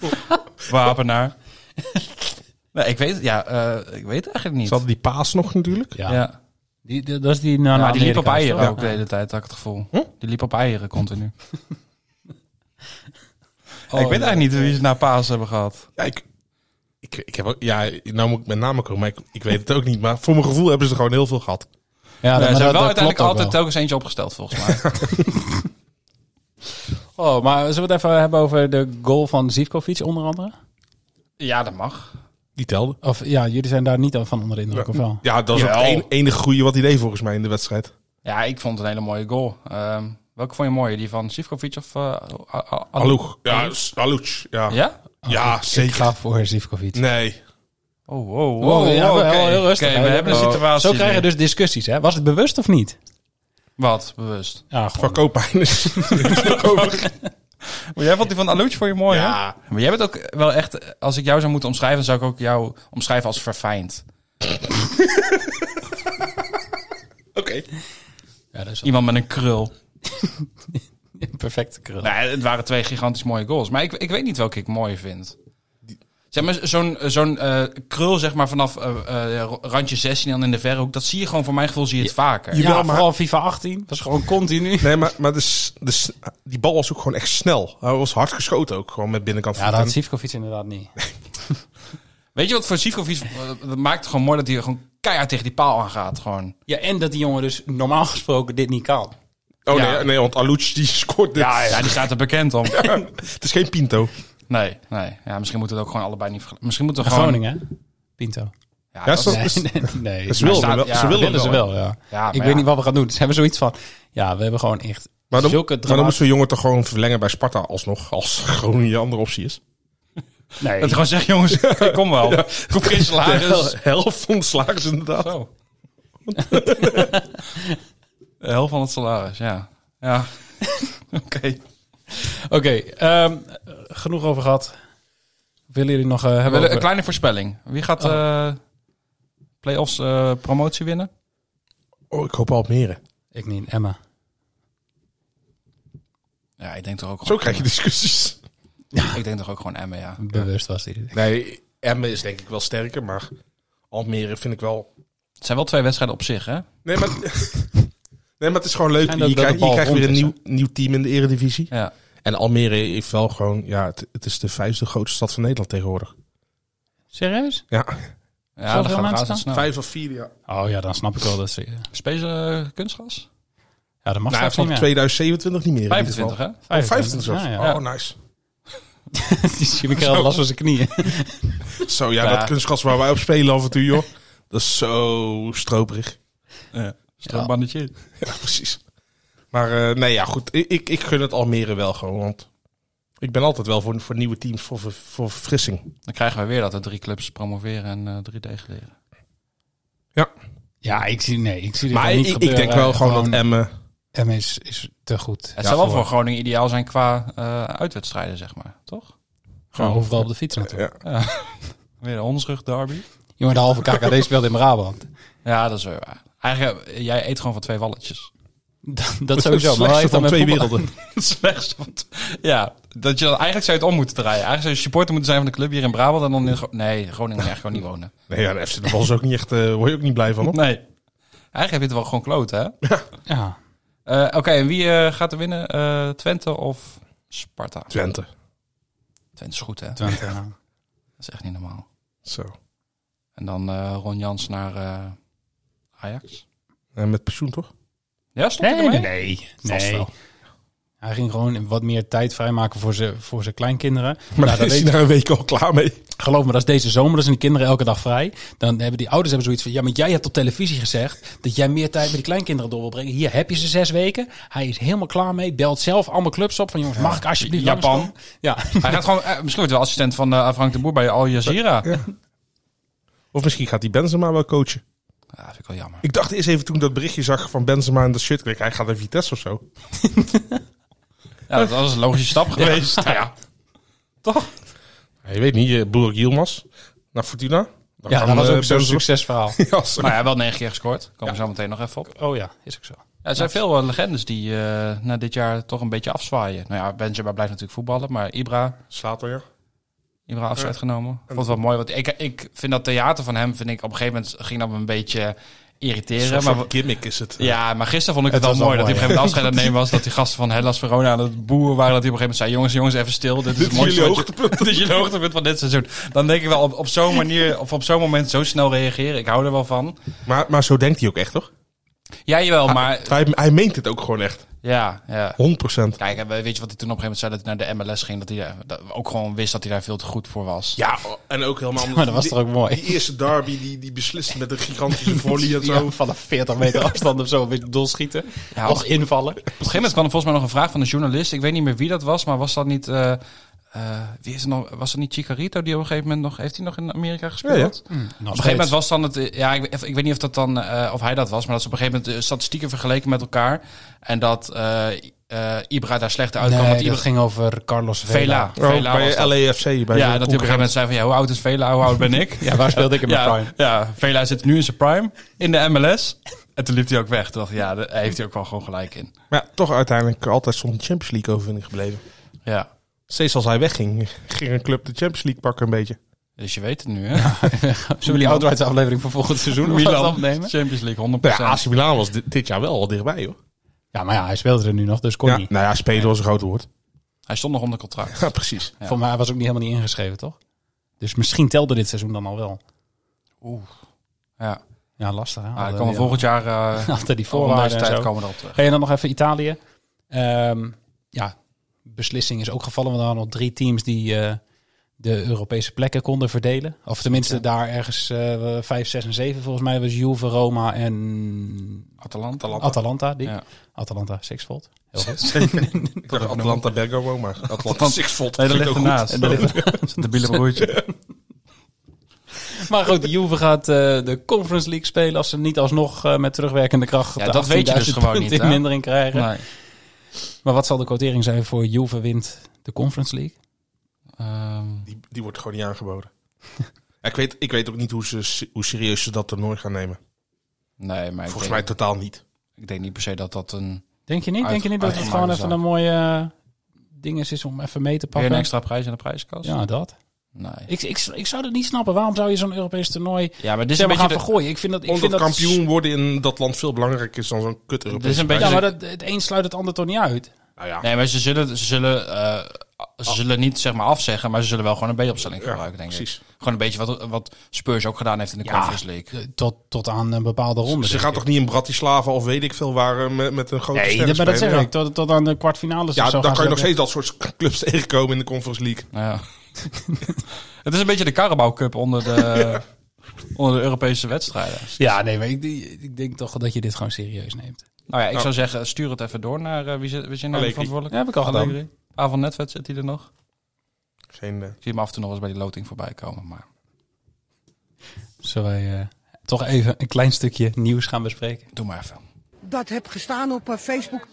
S7: [LAUGHS] Wapenaar. Nee, ik weet, ja, eh, ik weet het eigenlijk niet.
S6: Ze hadden die paas nog natuurlijk.
S1: Ja.
S7: ja.
S1: Die, die- dat is die nou
S7: ja, die liep op eieren ook de
S1: Ja.
S7: hele tijd, had ik het gevoel. Die liep op eieren [LAUGHS] continu.
S1: Oh,
S7: ik weet
S1: ja.
S7: eigenlijk niet wie ze naar Paas hebben gehad.
S6: Ja, ik, ik, ik heb ook, ja, nou moet ik met namen komen, maar ik, ik weet het ook niet. Maar voor mijn gevoel hebben ze er gewoon heel veel gehad.
S1: Ja, maar
S7: Nee, ze
S1: dat-
S7: hebben wel
S1: dat klopt
S7: uiteindelijk
S1: ook
S7: altijd
S1: wel.
S7: telkens eentje opgesteld, volgens [LAUGHS] mij.
S1: Oh, maar zullen we het even hebben over de goal van Zivkovic onder andere?
S7: ja, dat mag.
S6: Die telde.
S1: Of ja, jullie zijn daar niet van onder de indruk, of wel?
S6: Ja, dat is het
S7: Jawel.
S6: een- enige goede wat hij deed volgens mij in de wedstrijd.
S7: Ja, ik vond het een hele mooie goal. Ehm, welke vond je mooier? Die van Sivkovic of... eh, A- A- A-
S6: Alouk. Ja, s- Alouk. Ja, ja,
S7: Ja?
S1: Ik
S6: zeker.
S1: ga voor Zivkovic.
S6: Nee.
S7: Oh, wow.
S1: Wow, ja, wel
S7: oké.
S1: heel rustig,
S7: Oké,
S1: hè.
S7: we hebben een
S1: Oh.
S7: situatie
S1: Zo krijgen
S7: nu.
S1: dus discussies, hè? Was het bewust of niet?
S7: Wat, bewust.
S1: Ja,
S6: Van Koopijn is
S7: Maar jij vond die van Alouch voor je mooi, hè?
S6: Ja.
S7: Maar jij bent ook wel echt... Als ik jou zou moeten omschrijven, dan zou ik ook jou omschrijven als verfijnd.
S6: Oké.
S1: ja dat is
S7: Iemand met een krul.
S1: een perfecte krul.
S7: Nee, het waren twee gigantisch mooie goals. Maar ik, ik weet niet welke ik mooier vind. Zeg maar, zo'n zo'n eh, krul zeg maar, vanaf eh, eh, randje 16 en in de verre hoek... dat zie je gewoon, voor mijn gevoel zie je het vaker.
S1: ja,
S6: Jawel, maar-
S1: vooral FIFA 18. Dat is gewoon continu.
S6: Nee, maar, maar de, s- de, s- die bal was ook gewoon echt snel. Hij was hard geschoten ook, gewoon met binnenkant
S1: Ja, dat
S6: voet.
S1: had Zivkovic inderdaad niet.
S7: Weet je wat voor Sivkovic... eh, dat maakt het gewoon mooi dat hij gewoon keihard tegen die paal aangaat. Gewoon.
S1: Ja, en dat die jongen dus normaal gesproken dit niet kan.
S6: En- Oh
S7: Ja.
S6: nee, nee, want Alouch die [LAUGHS] scoort dit.
S7: Ja, die staat er bekend om.
S6: Het is geen Pinto.
S7: Nee, nee. Ja, misschien moeten we het ook gewoon allebei niet vergelijken. Misschien moeten we gewoon...
S1: Groningen, hè? Pinto.
S7: Ja,
S6: Ja,
S7: dat
S6: zo-
S7: is-
S1: Nee,
S6: is-
S1: [LAUGHS] nee, nee.
S6: Dat ze wilden,
S7: staat-
S6: wel,
S7: ja,
S6: ze willen,
S1: willen ze
S6: wel.
S1: wel, ja.
S7: ja,
S1: ik
S7: maar
S1: weet
S7: ja.
S1: niet wat we gaan doen. Ze hebben zoiets van, ja, we hebben gewoon echt
S6: Maar dan,
S1: zulke
S6: maar dan
S1: drama-
S6: moeten we jongen toch gewoon verlengen bij Sparta alsnog. Als Groningen je andere optie is.
S1: Nee.
S7: Dat ik gewoon zeg, jongens, ik kom wel. Ik hoef geen salaris.
S6: [LAUGHS] De hel- helft van de slagers inderdaad.
S7: Zo. de helft van het salaris, ja. Ja. [LAUGHS] Oké.
S1: Oké, ehm, genoeg over gehad. Willen jullie nog eh,
S7: We
S1: hebben
S7: willen een
S1: over...
S7: kleine voorspelling. Wie gaat eh play-offs eh, promotie winnen?
S6: Oh, ik hoop Almere.
S1: Ik niet, Emma.
S7: Ja, ik denk toch ook
S6: Zo
S7: gewoon,
S6: krijg je discussies.
S7: ik denk toch ook gewoon Emmen, ja.
S1: Bewust was die.
S6: Nee, Emmen is denk ik wel sterker, maar Almere vind ik wel...
S7: Het zijn wel twee wedstrijden op zich, hè?
S6: Nee, maar [LAUGHS] Nee, maar het is gewoon leuk.
S1: En dat-
S6: je
S1: dat de
S6: krijgt, je
S1: bal
S6: krijgt weer een
S1: rond is,
S6: nieuw, nieuw team in de eredivisie.
S7: Ja.
S6: En Almere heeft wel gewoon... Ja, het, het is de vijfde grootste stad van Nederland tegenwoordig.
S1: Serieus?
S6: Ja,
S7: Ja, dat
S1: veel
S7: gaat
S1: mensen
S7: razend snel.
S6: vijf of vier, ja.
S1: Oh ja, dan snap ik wel dat ze...
S7: Spezen eh, kunstgas?
S1: Ja, dat mag
S6: Nou,
S1: straks niet
S6: van
S1: meer.
S6: 2027 niet meer. in ieder geval.
S7: 25, hè?
S6: Oh, 25 zelfs.
S1: Ja, ja.
S6: Oh, nice.
S1: [LAUGHS] Die zie ik al last van zijn knieën.
S6: Zo, ja,
S1: Ja.
S6: dat kunstgas waar wij op spelen af en toe,
S1: [LAUGHS]
S6: joh. Dat is zo stroperig.
S7: Ja. Stroombannetje.
S6: [LAUGHS] Ja, precies. Maar eh, nee, ja, goed. Ik, ik, ik gun het Almere wel gewoon, want... Ik ben altijd wel voor, voor nieuwe teams, voor, ver- voor verfrissing.
S7: Dan krijgen wij weer dat er drie clubs promoveren en eh, drie degraderen.
S1: Ja, ik zie, nee, ik zie dit
S6: Maar
S1: wel
S6: ik,
S1: niet
S6: ik
S1: gebeuren.
S6: denk wel gewoon, dat Emmen...
S1: M is, is te goed.
S7: Het zou wel
S6: voor-
S7: voor Groningen ideaal zijn qua eh, uitwedstrijden, zeg maar. Toch?
S1: Gewoon overal op de fiets natuurlijk.
S6: Ja.
S7: Weer een hondsrug derby.
S1: Jongen, de
S6: [LAUGHS]
S1: halve KKD speelt in Brabant.
S7: Ja, dat is weer waar. Eigenlijk, eh, jij eet gewoon van twee walletjes.
S1: Dat, dat sowieso. Maar hij
S6: slechtste
S1: heeft dan
S6: van
S1: met
S6: twee
S1: voetbal- [LAUGHS]
S6: werelden.
S7: [LAUGHS] Het slechtste van t- Ja, dat je, eigenlijk zou je het om moeten draaien. Eigenlijk zou je supporter moeten zijn van de club hier in Brabant. En dan in Gro- nee, Groningen moet je echt gewoon niet wonen.
S6: Nee, ja, de FC de Bal is ook niet echt... eh word je ook niet blij van, hoor.
S7: [LAUGHS] Nee. Eigenlijk heb je het wel gewoon kloot, hè?
S1: Ja.
S7: Eh, Oké, en wie eh, gaat er winnen? Eh, Twente of Sparta?
S6: Twente.
S7: Twente is goed, hè? [LAUGHS] Dat
S1: Twente, ja.
S7: is echt niet normaal.
S6: Zo.
S7: En dan eh, Ron Jans naar eh, Ajax.
S6: En met pensioen, toch?
S7: Ja, stond hij
S1: Nee,
S7: erbij?
S1: nee, nee.
S6: Vast
S1: nee.
S6: wel.
S1: Hij ging gewoon wat meer tijd vrijmaken voor zijn voor zijn [LAUGHS] kleinkinderen.
S6: Maar
S1: nou,
S6: daar
S1: dat
S6: [LAUGHS] is
S1: weet
S6: hij na een week al klaar mee.
S1: Geloof me, dat is deze zomer. Dat zijn die kinderen elke dag vrij. Dan hebben die ouders hebben zoiets van... Ja, maar jij hebt op televisie gezegd dat jij meer tijd met die kleinkinderen door wil brengen. Hier heb je ze zes weken. Hij is helemaal klaar mee. Belt zelf allemaal clubs op van... Jongens, mag ik alsjeblieft
S7: Japan.
S1: langskomen? Ja, [LAUGHS]
S7: Hij gaat gewoon, eh, misschien wordt hij wel assistent van eh, Frank de Boer bij Al Jazeera. Ja.
S6: Of misschien gaat hij Benzema wel coachen.
S7: vind ik wel jammer.
S6: Ik dacht eerst even toen ik dat berichtje zag van Benzema en dat shirt. Ik denk, hij gaat naar Vitesse of zo.
S7: Ja, dat was een logische stap geweest. Nou ja.
S6: Ja, je weet niet, eh, Boerak Yilmaz naar Fortuna. Dan
S1: ja
S6: kan,
S1: dat was
S6: eh,
S1: ook zo'n
S6: Benzema-
S1: succesverhaal.
S6: [LAUGHS] Ja, zo.
S7: Maar hij heeft wel negen keer gescoord. Komen we zo meteen nog even op.
S1: Oh ja, is ook zo.
S7: Ja, er zijn veel eh, legendes die eh, na dit jaar toch een beetje afzwaaien. Nou ja, Benzema blijft natuurlijk voetballen, maar Ibra,
S6: Slater, ja.
S7: Ibra afscheid genomen. Ik vond het wel mooi, want ik, ik vind dat theater van hem, vind ik op een gegeven moment ging dat me een beetje irriteren. Maar,
S6: eh, maar gimmick is het.
S7: ja, maar gisteren vond ik het,
S1: Het
S7: wel
S1: was
S7: mooi dat
S1: wel
S7: hij op een gegeven moment afscheid aan het nemen was. Dat die gasten van Hellas Verona aan het boeren waren. Dat hij op een gegeven moment zei, jongens, jongens, even stil. Dit is het
S6: is
S7: mooiste
S6: jullie
S7: wat je- [LAUGHS] Dit is jullie hoogtepunt van dit seizoen. Dan denk ik wel, op, op zo'n manier, of op zo'n moment zo snel reageren. Ik hou er wel van.
S6: Maar, maar zo denkt hij ook echt, toch?
S7: Ja, jawel, maar...
S6: Hij, hij meent het ook gewoon echt. 100%.
S7: Ja, ja.
S6: Ja,
S7: Kijk, en weet je wat hij toen op een gegeven moment zei? Dat hij naar de MLS ging. Dat hij daar- dat- ook gewoon wist dat hij daar veel te goed voor was.
S6: en ook helemaal omdat...
S1: Maar dat was toch ook mooi?
S6: Die eerste derby, die, die besliste met een [LAUGHS] gigantische volley en
S1: Ja,
S6: zo.
S1: van een 40 meter afstand of zo. Een beetje doorschieten.
S7: Ja,
S1: als invallen.
S7: Op een gegeven moment kwam er volgens mij nog een vraag van een journalist. Ik weet niet meer wie dat was, maar was dat niet... eh, eh, wie is er nog, was dat niet Chicarito die op een gegeven moment nog... Heeft hij nog in Amerika gespeeld?
S6: Ja, ja.
S1: Mm,
S7: Op een gegeven moment was dan het... eh, Ja, ik, ik weet niet of, dat dan, eh, of hij dat was, maar dat ze op een gegeven moment de statistieken vergeleken met elkaar. En dat eh eh, Ibra daar slechter uitkwam.
S1: Nee,
S7: want
S1: dat
S7: Ibra,
S1: ging over Carlos Vela.
S7: Vela.
S6: Oh,
S7: Vela
S6: bij
S7: was dat.
S6: LAFC. Bij de
S7: Ja, dat hij op een gegeven moment zei van... Ja, hoe oud is Vela? Hoe oud ben ik?
S1: [LAUGHS] Ja, waar speelde ik in mijn
S7: ja,
S1: prime?
S7: ja, Vela zit nu in zijn prime in de MLS. En toen liep hij ook weg. Toen dacht ik, ja, daar heeft hij ook wel gewoon gelijk in.
S6: Maar ja, toch uiteindelijk altijd stond de Champions League overwinning gebleven.
S7: Ja,
S6: Steeds als hij wegging, [LAUGHS] ging een club de Champions League pakken een beetje.
S7: dus je weet het nu, [LAUGHS] hè?
S1: Zullen we die outrights aflevering van volgend seizoen nog wat opnemen?
S7: Champions League, 100%.
S6: Nou ja, AC Milan was dit, dit jaar wel al dichtbij, hoor.
S1: Ja, maar ja, hij speelde er nu nog, dus kon
S6: Ja,
S1: niet.
S6: nou ja, spelen was een groot woord.
S7: Hij stond nog onder contract. Ah,
S6: Ja, precies.
S7: Ja.
S1: Voor mij hij was ook niet helemaal niet ingeschreven, toch? Dus misschien telde dit seizoen dan al wel.
S7: Ja,
S1: Ja, lastig. Hè?
S7: maar
S1: Altijd
S7: hij kan
S1: die-
S7: volgend
S1: [LAUGHS]
S7: jaar
S1: Altijd
S7: eh
S1: die
S7: voor deze
S1: voorwaarden en
S7: tijd
S1: zo.
S7: komen we erop terug.
S1: Ga je dan nog even Italië? Ehm, ja, beslissing is ook gevallen. Want er waren nog drie teams die eh, de Europese plekken konden verdelen. Of tenminste daar ergens eh 5, 6 en 7 volgens mij was Juve, Roma en
S7: Atalanta.
S1: Atalanta. Die.
S7: Ja.
S1: Atalanta, Sixfold. Heel
S6: [LAUGHS]
S1: goed.
S6: Ik dacht Atlanta Bergamo, maar Atlanta
S7: Atlanta-
S6: Sixfold.
S7: Nee, dat ligt
S6: Klinkt ook
S7: ernaast. Dat is een debiele
S1: [LAUGHS]
S7: broertje.
S1: maar goed, de Juve gaat eh, de Conference League spelen als ze niet alsnog eh, met terugwerkende kracht
S7: Ja,
S1: de
S7: dat weet je dus
S1: 18.000
S7: gewoon
S1: punten
S7: niet,
S1: in
S7: hè?
S1: mindering krijgen.
S7: Nee.
S1: Maar wat zal de quotering zijn voor Juve wint de Conference League?
S7: Ehm,
S6: goed. Die, die wordt gewoon niet aangeboden. Ja, ik, weet, ik weet ook niet hoe, ze, hoe serieus ze dat toernooi gaan nemen.
S7: nee, maar ik
S6: Volgens
S7: denk,
S6: mij totaal niet.
S7: ik denk niet per se dat dat een,
S1: Denk je niet?
S7: Uit-
S1: Denk je niet dat het
S7: uitgemaakt
S1: gewoon
S7: is
S1: even
S7: dat.
S1: een mooie eh, ding is, is om even mee te
S7: weer een
S1: pakken?
S7: extra prijs in de prijskast?
S1: Ja, dat.
S7: Nee.
S1: Ik, ik, ik zou dat niet snappen. Waarom zou je zo'n Europees toernooi
S7: Ja, maar dit is
S1: zeg
S7: een
S1: maar
S7: beetje...
S1: gaan
S7: de-
S1: vergooien? Ik vind dat, ik
S6: Omdat
S1: vind dat
S6: kampioen worden in dat land veel belangrijker is dan zo'n kut
S7: Dit is
S6: Europees.
S7: een beetje...
S1: Ja, maar dat, het een sluit het ander toch niet uit?
S6: Nou ja,
S7: Nee, maar ze zullen, ze zullen, eh, ze
S1: Oh.
S7: zullen niet zeg maar afzeggen, maar ze zullen wel gewoon een B-opstelling
S6: Ja,
S7: gebruiken, denk
S6: precies.
S7: ik. Gewoon een beetje wat, wat Spurs ook gedaan heeft in de Conference League.
S1: Eh, Tot, tot aan een bepaalde ronde.
S6: Dus ze
S1: denk
S6: gaan
S1: ik.
S6: toch niet in Bratislava of weet ik veel waar eh, met, met een grote
S1: Nee,
S6: sterren
S1: dat- maar dat
S6: spelen?
S1: zeg
S6: Ja.
S1: ik. Tot, tot aan de kwartfinales of
S6: Ja,
S1: zo
S6: dan
S1: gaan
S6: kan je
S1: ze
S6: nog steeds dat soort [LAUGHS] clubs tegenkomen in de Conference League.
S7: Nou Ja. [LAUGHS] het is een beetje de Carabao Cup onder [LAUGHS] de, onder de Europese wedstrijden.
S1: Ja, nee, maar ik, ik denk toch dat je dit gewoon serieus neemt.
S7: Nou ja, ik
S6: Nou.
S7: zou zeggen, stuur het even door naar eh, wie, zit, wie zijn nou
S6: Allegri.
S7: verantwoordelijk?
S1: Ja, heb ik al gedaan.
S7: Allegri. Avond Netvet zit hij er nog.
S6: Geen, eh,
S7: Ik zie hem af en toe nog eens bij die loting voorbij komen, maar...
S1: Zullen wij eh, toch even een klein stukje nieuws gaan bespreken?
S7: Doe maar even.
S8: dat heb gestaan op eh, Facebook.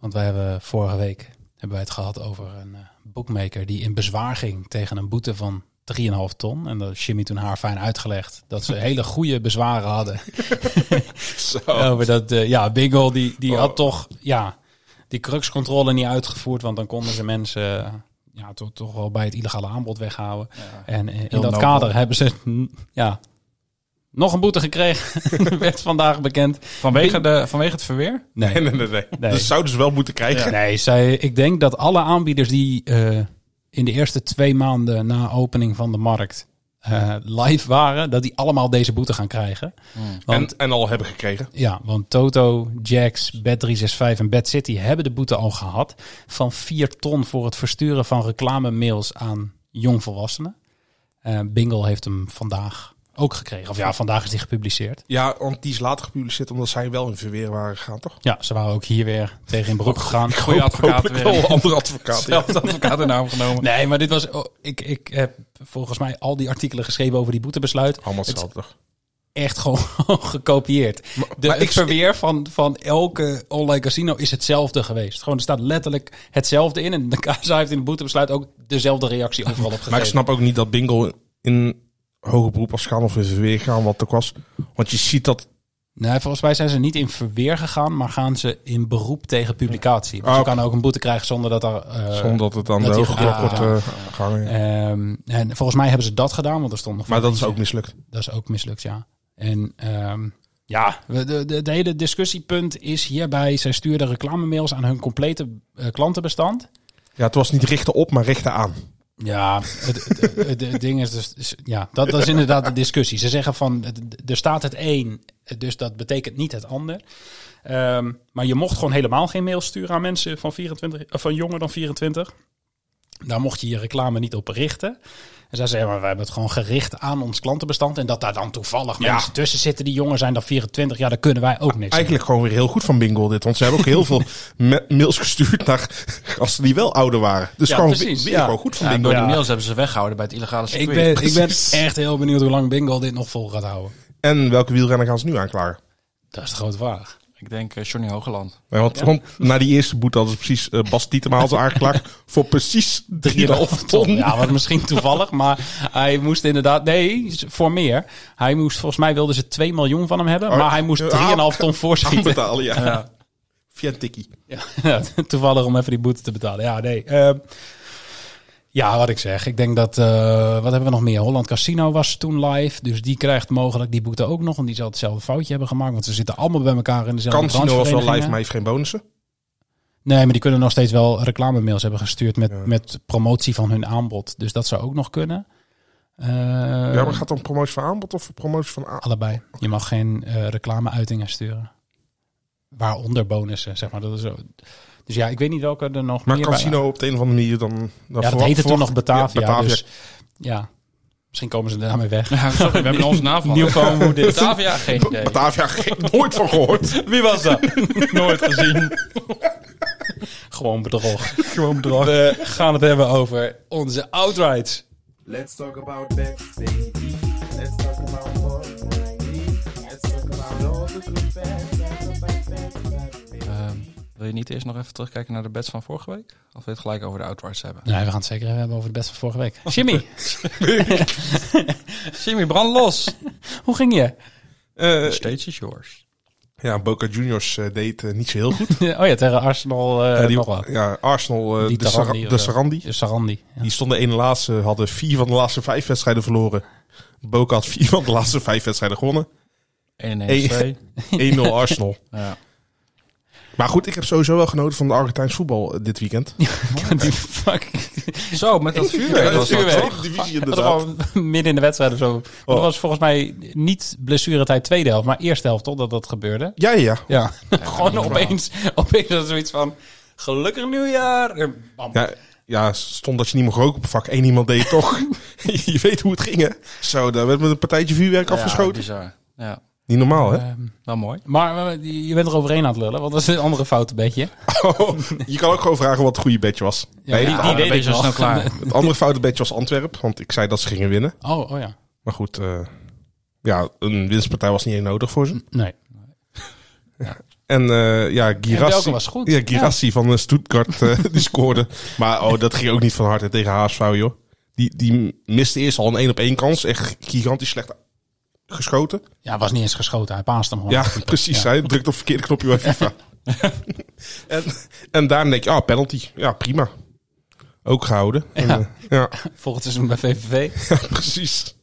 S1: Want wij hebben vorige week hebben wij het gehad over een eh, boekmaker die in bezwaar ging tegen een boete van 3,5 ton. En dat heeft Jimmy toen haar fijn uitgelegd dat ze hele goede bezwaren hadden.
S6: zo.
S1: [LAUGHS] Over dat, eh, ja, Bigel die, die
S6: Oh.
S1: had toch ja, die cruxcontrole niet uitgevoerd. Want dan konden ze mensen eh, ja, toch, toch wel bij het illegale aanbod weghouden. En eh, in
S7: Heel
S1: dat
S7: nobel.
S1: kader hebben ze mm, ja, nog een boete gekregen. [LAUGHS] werd vandaag bekend.
S7: Vanwege, de, vanwege het verweer?
S1: Nee,
S6: Nee, nee, nee, nee.
S1: Nee.
S6: [LAUGHS] Dat zouden ze wel moeten krijgen.
S1: nee zij, ik denk dat alle aanbieders die eh, in de eerste twee maanden na opening van de markt eh, live waren, dat die allemaal deze boete gaan krijgen.
S7: Hmm.
S1: Want
S6: En, en al hebben gekregen.
S1: Ja, want Toto, Jax, Bet365 en Bad City hebben de boete al gehad van 4 ton voor het versturen van reclamemails aan jongvolwassenen. Eh Bingle heeft hem vandaag ook gekregen. Of ja, vandaag is die gepubliceerd.
S6: Ja, want die is later gepubliceerd omdat zij wel in verweer waren gegaan, toch?
S1: Ja, ze waren ook hier weer tegen in beroep gegaan.
S7: Goeie advocaat
S6: Hopelijk wel
S7: weer.
S6: een andere [LAUGHS] advocaat. ja.
S7: Zelfde advocaat in naam genomen.
S1: Nee, maar dit was. oh, ik, ik heb volgens mij al die artikelen geschreven over die boetebesluit.
S6: Allemaal
S1: Het-
S6: hetzelfde. toch?
S1: echt [LAUGHS] gewoon gekopieerd. De,
S6: maar
S1: het
S6: ik-
S1: verweer van, van elke online casino is hetzelfde geweest. Gewoon, er staat letterlijk hetzelfde in. En de KSA heeft in de boetebesluit ook dezelfde reactie overal op
S6: Maar ik
S1: gegeven.
S6: snap ook niet dat Bingo in hoger beroep was gaan of in verweer gaan, wat ook was. Want je ziet dat...
S1: Nee, volgens mij zijn ze niet in verweer gegaan, maar gaan ze in beroep tegen publicatie. Dus
S6: Ah,
S1: je
S6: oké.
S1: kan ook een boete krijgen zonder dat er... eh,
S6: Zonder dat het aan
S1: dat
S6: de
S1: die
S6: hoge klok wordt
S1: gehaald
S6: eh, gehangen. ja.
S1: ehm, en volgens mij hebben ze dat gedaan, want er stond nog...
S6: Maar dat is
S1: eentje.
S6: ook mislukt.
S1: Dat is ook mislukt, ja. En ehm, ja, we- de, de, het hele discussiepunt is hierbij... zij stuurden reclamemails aan hun complete eh, klantenbestand...
S6: Ja, het was niet richten op, maar richten aan.
S1: Ja, het, het, het- het ding is dus. is- Ja, dat, dat is inderdaad de discussie. Ze zeggen van het- er staat het een, dus dat betekent niet het ander. Ehm, maar je mocht gewoon helemaal geen mail sturen aan mensen van, 24, eh, van jonger dan 24. Daar mocht je je reclame niet op richten. En zij zeggen, maar wij hebben het gewoon gericht aan ons klantenbestand. En dat daar dan toevallig
S6: Ja.
S1: mensen tussen zitten die jonger zijn dan 24. Ja, daar kunnen wij ook niks aan.
S6: Eigenlijk gewoon weer heel goed van Bingo dit. Want ze hebben ook heel
S1: [LAUGHS]
S6: veel me- mails gestuurd naar gasten die wel ouder waren. Dus
S1: Ja,
S6: gewoon
S1: precies,
S6: weer
S1: ja.
S6: gewoon goed van
S7: Ja,
S6: Bingo.
S7: door die
S1: Ja.
S7: mails hebben ze weggehouden bij het illegale circuit.
S1: Ik ben, ik ben
S6: Precies.
S1: echt heel benieuwd hoe lang Bingo dit nog vol gaat houden.
S6: En welke wielrenner gaan ze nu aanklagen?
S1: Dat is de grote vraag.
S7: Ik denk eh, Johnny Hogeland.
S6: Nee, want, want na die eerste boete hadden ze precies eh, Bas Tietema had ze
S1: [LAUGHS]
S6: aangeklaagd voor precies 3,5 ton.
S1: Ja, wat misschien toevallig, maar hij moest inderdaad... Nee, voor meer. Hij moest, volgens mij wilden ze 2 miljoen van hem hebben, maar hij
S6: Oh,
S1: moest 3,5 ton voorschieten.
S6: Aanbetalen, ja. Via een tikkie.
S1: [LAUGHS] Ja, toevallig om even die boete te betalen. Ja, nee. ehm, ja, wat ik zeg. Ik denk dat... eh, wat hebben we nog meer? Holland Casino was toen live, dus die krijgt mogelijk die boete ook nog. En die zal hetzelfde foutje hebben gemaakt, want ze zitten allemaal bij elkaar in dezelfde
S6: Kansino was wel live,
S1: brancheverenigingen.
S6: maar heeft geen bonussen.
S1: Nee, maar die kunnen nog steeds wel reclamemails hebben gestuurd met,
S6: Ja.
S1: met promotie van hun aanbod. Dus dat zou ook nog kunnen. Eh,
S6: ja, maar gaat het om promotie van aanbod of promotie van aan?
S1: Allebei. Je mag geen eh reclameuitingen sturen. Waaronder bonussen, zeg maar. Dat is zo. Dus ja, ik weet niet welke er nog
S6: Maar
S1: meer
S6: Cansino op de een of andere manier dan... dan
S1: bij... Ja, dat
S6: verwacht-
S1: heette toen nog
S6: verwacht-
S1: Batavia.
S6: Ja, Batavia.
S1: Dus, ja, misschien komen ze daarmee weg.
S7: Ja, sorry, we [LAUGHS] hebben onze naam van.
S1: Nieuwkomen hoe dit-
S7: Batavia, [LAUGHS] geen idee.
S6: Batavia, [LAUGHS] geen- nooit
S1: [LAUGHS]
S6: van gehoord.
S7: Wie was dat? Nooit gezien.
S1: [LAUGHS] Gewoon bedrog. Gewoon bedrog. We gaan het hebben over onze outrights.
S9: Let's talk about bets, baby. Let's talk about ball, baby. Let's talk about all the good bets. Talk about bets, bets, baby.
S7: Ehm, wil je niet eerst nog even terugkijken naar de bets van vorige week? Of wil je het gelijk over de outrights hebben?
S1: Nee, we gaan het zeker hebben over de beste van vorige week. [LAUGHS] Jimmy,
S7: Jimmy, brand los. [LAUGHS]
S1: hoe ging je?
S6: Eh,
S7: Steeds is yours.
S6: Ja, Boca Juniors eh, deed eh, niet zo heel goed.
S1: [LAUGHS] oh ja, tegen Arsenal eh
S6: Ja, die-
S1: nog wat.
S6: ja, Arsenal, eh,
S1: Die
S6: de,
S1: Sarandi
S6: Sara-
S1: of
S6: de
S1: zo.
S6: Sarandi.
S1: Sarandi. ja.
S6: Die stonden één laatste, hadden vier van de laatste vijf wedstrijden verloren. Boca had vier van de laatste vijf
S1: [LAUGHS]
S6: wedstrijden gewonnen.
S7: 1-1-2.
S6: 1-0 Arsenal.
S7: Ja.
S6: Maar goed, ik heb sowieso wel genoten van de Argentijns voetbal eh, dit
S1: [LAUGHS]
S6: weekend.
S1: Die fuck.
S7: Zo,
S1: [LAUGHS]
S7: met dat vuurwerk
S6: Ja,
S7: was dat
S1: vuurwerk.
S7: toch?
S6: divisie
S1: Dat was gewoon [LAUGHS] midden in de wedstrijd of zo. Maar Dat was volgens mij niet blessuretijd tweede helft, maar eerste helft toch dat dat gebeurde.
S6: Ja, ja, ja.
S1: Ja, [LAUGHS] gewoon opeens, opeens was zoiets van, gelukkig nieuwjaar. En bam.
S6: ja. Ja, stond dat je niet mocht roken op vak. Eén iemand deed het [LAUGHS] toch. je weet hoe het ging, hè? Zo, daar werd met een partijtje vuurwerk
S7: Ja,
S6: afgeschoten.
S7: bizar. Ja,
S6: Niet normaal, hè?
S1: Ehm,
S7: wel mooi.
S1: maar eh, je bent er overheen aan het lullen, want dat is een andere fout een beetje.
S6: [LAUGHS] Oh, je kan ook gewoon vragen wat het goede bedje was. nee,
S1: die-
S6: het
S1: die
S6: andere-
S1: deed dus
S7: ben je zo
S1: ik
S7: snel
S1: nog.
S7: klaar.
S6: het andere foute bedje was Antwerp. Want ik zei dat ze gingen winnen.
S1: Oh, oh ja.
S6: Maar goed, eh, ja, een winstpartij was niet echt nodig voor ze.
S1: Nee.
S6: En eh, ja,
S1: En
S6: Girassi,
S1: Belkin was goed.
S6: Ja, Girassi van eh, Stuttgart, eh, [LAUGHS] die scoorde. Maar oh, dat ging ook niet van harte tegen HSV, joh. Die, die miste eerst al een één op één kans. Echt gigantisch slecht geschoten.
S1: Ja, was niet eens geschoten. Hij paast hem gewoon. [LAUGHS]
S6: Ja, [LAUGHS] precies. Hij drukt op het verkeerde knopje bij FIFA. en, en daarna denk je, ah, penalty. Ja, prima. Ook gehouden. En,
S1: Ja.
S6: eh, ja.
S1: Volgend seizoen bij VVV.
S6: Precies.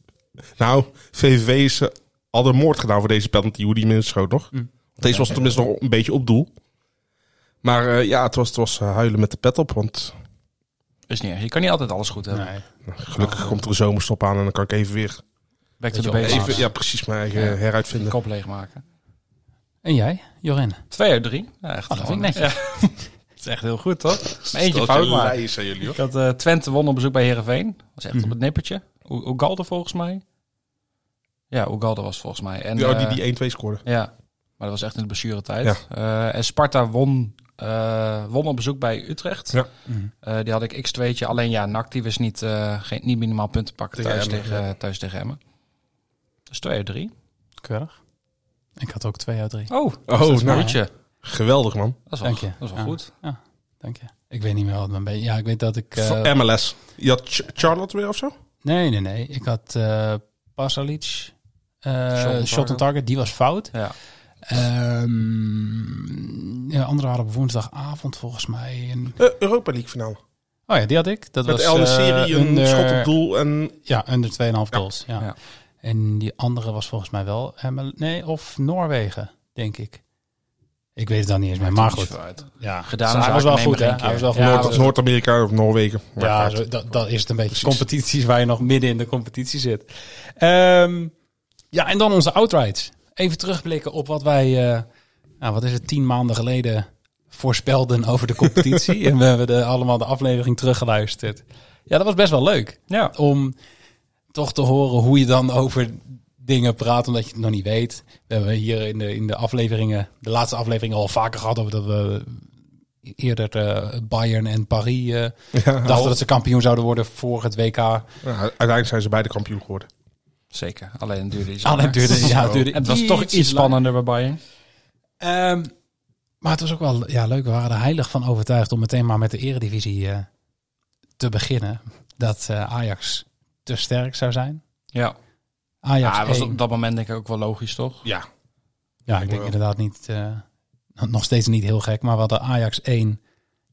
S6: Nou, VVV is, eh, had een moord gedaan voor deze penalty. Hoe die minst schoot nog. Deze was tenminste nog een beetje op doel. Maar eh, ja, het was, het was eh, huilen met de pet op. Want
S7: Is niet erg. Je kan niet altijd alles goed hebben.
S1: Nee.
S6: gelukkig komt er een zomerstop aan. En dan kan ik even weer
S7: Back
S1: Weet
S7: to the
S1: je wel,
S7: basics.
S6: even, ja, precies mijn eigen
S7: Ja.
S6: heruitvinden.
S7: Kop leegmaken.
S1: En jij, Jorin?
S7: Twee uit drie. Ja, echt
S1: Oh, dat
S7: gewoon-
S1: vind ik netjes.
S7: Ja. Het is echt heel goed, toch? Maar eentje
S6: Steltje
S7: fout maken.
S6: lijst aan jullie, hoor.
S7: Ik had eh, Twente won op bezoek bij Herenveen. was
S6: Mhm.
S7: echt op het nippertje. O- Ugalde volgens mij. Ja, Ugalde was volgens mij. En,
S6: Ja, die
S7: eh,
S6: die 1-2 scoorde.
S7: ja, maar dat was echt in de blessuretijd. Eh, en Sparta won, eh, won op bezoek bij Utrecht.
S6: Ja.
S1: Mhm.
S7: Eh, die had ik x2'tje. Alleen ja, NAC die wist niet, eh, geen, niet minimaal punten pakken
S6: Tegen
S7: thuis,
S6: Emmen,
S7: tegen, thuis tegen Emmen. Dus 2 uit 3.
S1: Keurig. Ik had ook twee uit drie. Dus
S7: Oh,
S6: Oh, nou,
S7: goedje.
S6: geweldig, man.
S7: Dat is wel,
S1: Dank je.
S7: dat is wel
S1: Ja.
S7: goed.
S1: Dank je. Ik weet niet meer wat mijn beetje... Ja, ik weet dat ik... eh,
S6: Van MLS. Je had Ch- Charlotte weer of zo?
S1: nee, nee, nee. Ik had eh Pasalic. eh,
S7: Shot on
S1: shot on
S7: target.
S1: target. Die was fout.
S7: Ja.
S1: Ehm ja, andere hadden op woensdagavond volgens mij. En,
S6: Eh, Europa League finale.
S1: oh ja, die had ik. Dat
S6: Met
S1: was
S6: El
S1: eh,
S6: Serie, een
S1: under-
S6: schot op doel en...
S1: Ja, onder 2,5 goals. Ja.
S7: Ja.
S1: En die andere was volgens mij wel... Emel- Nee, of Noorwegen, denk ik. ik weet het dan niet eens meer, maar
S7: Maakt niet
S1: goed.
S7: zoveel uit.
S1: Ja,
S7: Gedaan
S1: Hij
S7: is
S1: was wel
S7: zaken,
S1: goed,
S7: neem
S1: hè?
S7: maar geen
S1: Hij was wel goed.
S7: keer. Ja,
S1: Ja,
S7: was-
S6: Noord-Amerika of Noorwegen. Maar
S1: ja,
S6: uit.
S1: zo, dat, dat is het een beetje. Competities waar je nog midden in de competitie zit. Ehm, ja, en dan onze outrights. Even terugblikken op wat wij, eh, nou, wat is het, tien maanden geleden voorspelden over de [LAUGHS] competitie. en we hebben de, allemaal de aflevering teruggeluisterd. Ja, dat was best wel leuk.
S7: Ja.
S1: Om toch te horen hoe je dan over dingen praat, omdat je het nog niet weet. We hebben hier in de, in de afleveringen, de laatste afleveringen al vaker gehad over dat we eerder eh, Bayern en Paris eh, dachten dat ze kampioen zouden worden voor het WK.
S6: Ja, uiteindelijk zijn ze beide kampioen geworden.
S7: Zeker. Alleen duurde iets
S1: Alleen
S7: langer.
S1: [LAUGHS] duurde, ja, het duurde
S7: En het was toch iets
S1: langer.
S7: spannender bij Bayern.
S1: Ehm, maar het was ook wel ja, leuk. We waren er heilig van overtuigd om meteen maar met de eredivisie eh, te beginnen. Dat eh, Ajax te sterk zou zijn.
S7: Ja,
S1: Ajax
S7: ja was
S1: één.
S7: op dat moment denk ik ook wel logisch, toch?
S6: Ja.
S1: Ja, ik denk
S6: wel.
S1: inderdaad niet... eh, nog- nog steeds niet heel gek, maar we hadden Ajax 1,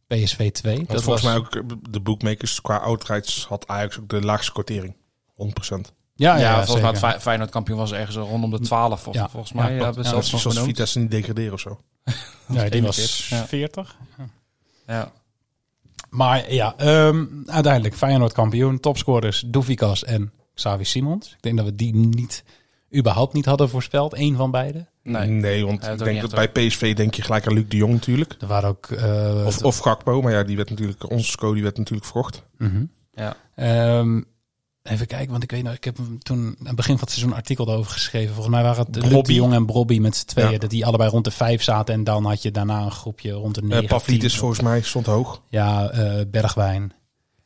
S1: PSV 2.
S6: Dat volgens mij ook eh, de bookmakers qua outrights had Ajax ook de laagste quotering. 100%.
S1: Ja,
S7: Ja,
S1: Ah, ja,
S7: volgens mij het
S1: zeker.
S7: Fey- Feyenoord kampioen was ergens rondom de 12, vol-
S1: Ja.
S7: volgens mij.
S1: Ja,
S7: Ja,
S1: klopt.
S7: hebben we
S1: Ja,
S7: zelfs
S6: Precies
S7: nog
S6: als
S7: genoemd.
S6: Vitesse niet degraderen of zo.
S1: Ja, die was
S7: 41, ja.
S1: 40.
S7: Ja.
S1: Maar ja, ehm, uiteindelijk Feyenoord kampioen. Topscorers Doefikas en Xavi Simons. Ik denk dat we die niet, überhaupt niet hadden voorspeld. Eén van beide.
S7: Nee.
S6: want
S7: Ja, dat
S6: ik
S7: ook
S6: denk
S7: niet
S6: dat
S7: echt,
S6: bij PSV denk je gelijk aan Luc de Jong natuurlijk.
S1: Er waren ook... eh,
S6: Of, of Gakpo, maar ja, die werd natuurlijk, onze sco die werd natuurlijk verkocht.
S1: Mhm.
S7: Ja.
S1: Ehm, even kijken, want ik weet nog, ik heb hem toen aan het begin van het seizoen een artikel erover geschreven. Volgens mij waren het Luc de
S6: Brobby.
S1: Jong en Brobby met z'n tweeën.
S6: Ja.
S1: Dat die allebei rond de vijf zaten. En dan had je daarna een groepje rond de negen.
S6: Uh, Pavlidis
S1: tien.
S6: volgens mij stond hoog.
S1: Ja, eh, Bergwijn.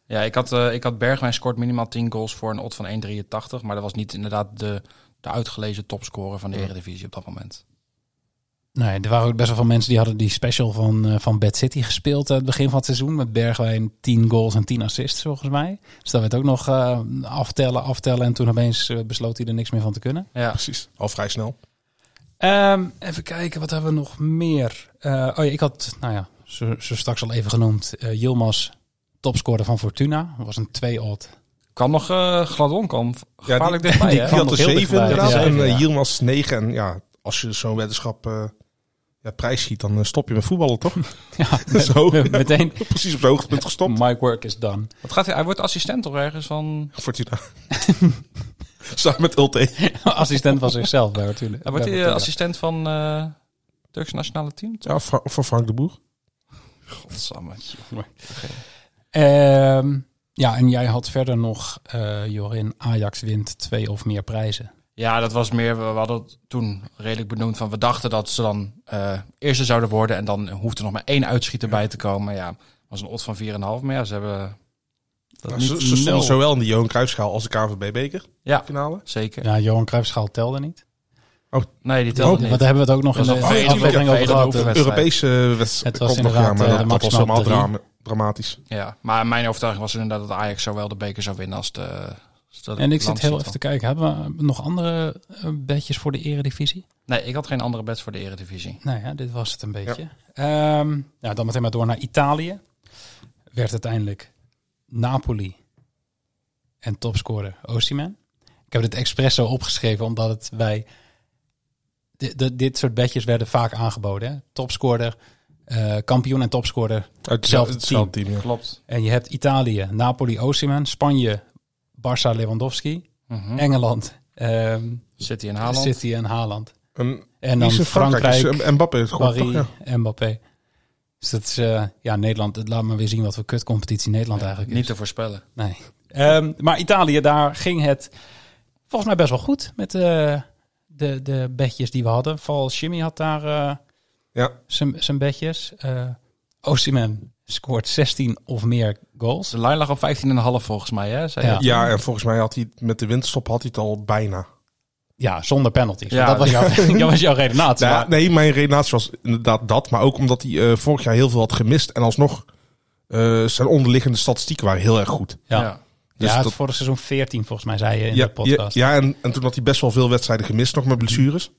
S7: ja, ik had, eh, ik had Bergwijn scoort minimaal 10 goals voor een odd van 1,83. Maar dat was niet inderdaad de, de uitgelezen topscorer van de Eredivisie op dat moment.
S1: Nee, er waren ook best wel veel mensen die hadden die special van, eh, van Bad City gespeeld aan het begin van het seizoen. Met Bergwijn 10 goals en 10 assists volgens mij. Dus dat werd ook nog eh, aftellen, aftellen. En toen opeens eh, besloot hij er niks meer van te kunnen.
S7: Ja,
S6: Precies. Al vrij snel.
S1: Ehm, even kijken, wat hebben we nog meer? Eh, oh ja, ik had, nou ja, zo, zo straks al even genoemd, eh Yilmaz, topscorer van Fortuna. Dat was een 2-odd.
S7: Kan nog eh gladon kan gevaarlijk
S6: die,
S7: dichtbij,
S6: die,
S7: hè?
S6: die had
S1: nog
S6: er
S1: heel
S6: 7
S1: dichtbij.
S6: inderdaad.
S1: Ja,
S6: en
S1: ja.
S6: eh, Yilmaz 9. En ja, als je zo'n weddenschap eh ja, prijs schiet, dan eh, stop je met voetballen, toch?
S1: Ja,
S6: [LAUGHS]
S1: [LAUGHS]
S6: Zo.
S1: meteen,
S6: Precies op het hoogtepunt gestopt.
S1: my work is done. [LAUGHS]
S7: Wat gaat hij? Hij wordt assistent toch ergens van.
S6: Fortuna. [LAUGHS] Samen met Ulte.
S1: Assistent van zichzelf bij Fortuna.
S7: Hij wordt
S1: bij
S7: hij eh,
S1: Fortuna.
S7: assistent van eh Turks nationale team?
S6: Ja, Fra- van Frank de Boer.
S7: Godsamme.
S1: Ehm, ja, en jij had verder nog, eh, Jorin, Ajax wint twee of meer prijzen.
S7: Ja, dat was meer. We hadden het toen redelijk benoemd van. We dachten dat ze dan eh eerste zouden worden. En dan hoeft er nog maar één uitschieter bij te komen. Ja, was een odd van 4,5. Maar ja, ze hebben. Dat
S6: Nou,
S7: niet
S6: ze, ze stonden
S7: nul.
S6: zowel in de Johan Cruijffschaal als de KVB-beker
S7: Ja,
S6: finale.
S7: zeker.
S1: Ja, Johan Cruijffschaal telde niet.
S7: Nee, die telde
S1: Want
S7: niet.
S1: daar hebben we het ook nog in
S7: Dat
S1: de
S7: is een
S1: aflevering
S7: vele-
S1: over
S7: vele
S1: gehad.
S7: overwinning. wedstrijd.
S6: eh, Europese wedstrijd.
S1: Het was
S6: komt nog,
S1: inderdaad,
S6: maar
S1: eh,
S6: dat was
S1: maximaal
S6: allemaal
S1: drie.
S6: drama- dramatisch.
S7: Ja, maar mijn overtuiging was inderdaad dat Ajax zowel de beker zou winnen als de. als de
S1: En ik zit heel
S7: landstitel.
S1: even te kijken, hebben we nog andere eh, bedjes voor de eredivisie?
S7: Nee, ik had geen andere bets voor de Eredivisie.
S1: Nou ja, dit was het een beetje. Ehm, nou, dan meteen maar door naar Italië. Werd uiteindelijk Napoli en topscorer Osimhen. Ik heb dit expres zo opgeschreven, omdat het bij... Dit, dit- dit soort bedjes werden vaak aangeboden. hè. Topscorer, eh, kampioen en topscorer.
S6: Uit
S1: Hetzelfde
S6: hetzelfde team. ja.
S7: Klopt.
S1: En je hebt Italië, Napoli, Osimhen. Spanje, Barça, Lewandowski. Engeland, ehm,
S7: Mhm. City en Hm. Haaland.
S1: City en Haaland.
S6: En,
S1: En
S6: die
S1: dan
S6: is in
S1: Frankrijk,
S6: Frankrijk. is, eh, Mbappé het gewoon.
S1: Paris,
S6: toch? Ja.
S1: Mbappé. Dus dat is, eh, ja, Nederland, het laat maar weer zien wat voor kutcompetitie Nederland eigenlijk
S7: Niet
S1: is.
S7: te voorspellen.
S1: Nee. Ehm, maar Italië, daar ging het volgens mij best wel goed met eh, de, de bedjes die we hadden. Vooral Jimmy had daar eh,
S6: Ja.
S1: zijn zijn bedjes. Eh Osimhen scoort 16 of meer goals.
S7: De lijn lag op 15,5 volgens mij, hè? Zei
S1: Ja.
S7: je?
S6: ja, en volgens mij had hij het met de winterstop had hij het al bijna.
S1: Ja, zonder penalties.
S7: Ja,
S1: dat, was
S6: [LAUGHS]
S1: jouw, dat was jouw redenatie.
S6: Nou ja,
S1: maar-
S6: nee, mijn redenatie was inderdaad dat. Maar ook omdat hij eh, vorig jaar heel veel had gemist. En alsnog eh, zijn onderliggende statistieken waren heel erg goed.
S1: ja.
S7: Ja.
S1: Ja,
S6: Dus
S1: het
S6: dat-
S1: vorig seizoen 14 volgens mij zei je in
S6: ja,
S1: de podcast.
S6: Ja, ja, en, en toen had hij best wel veel wedstrijden gemist, nog met blessures.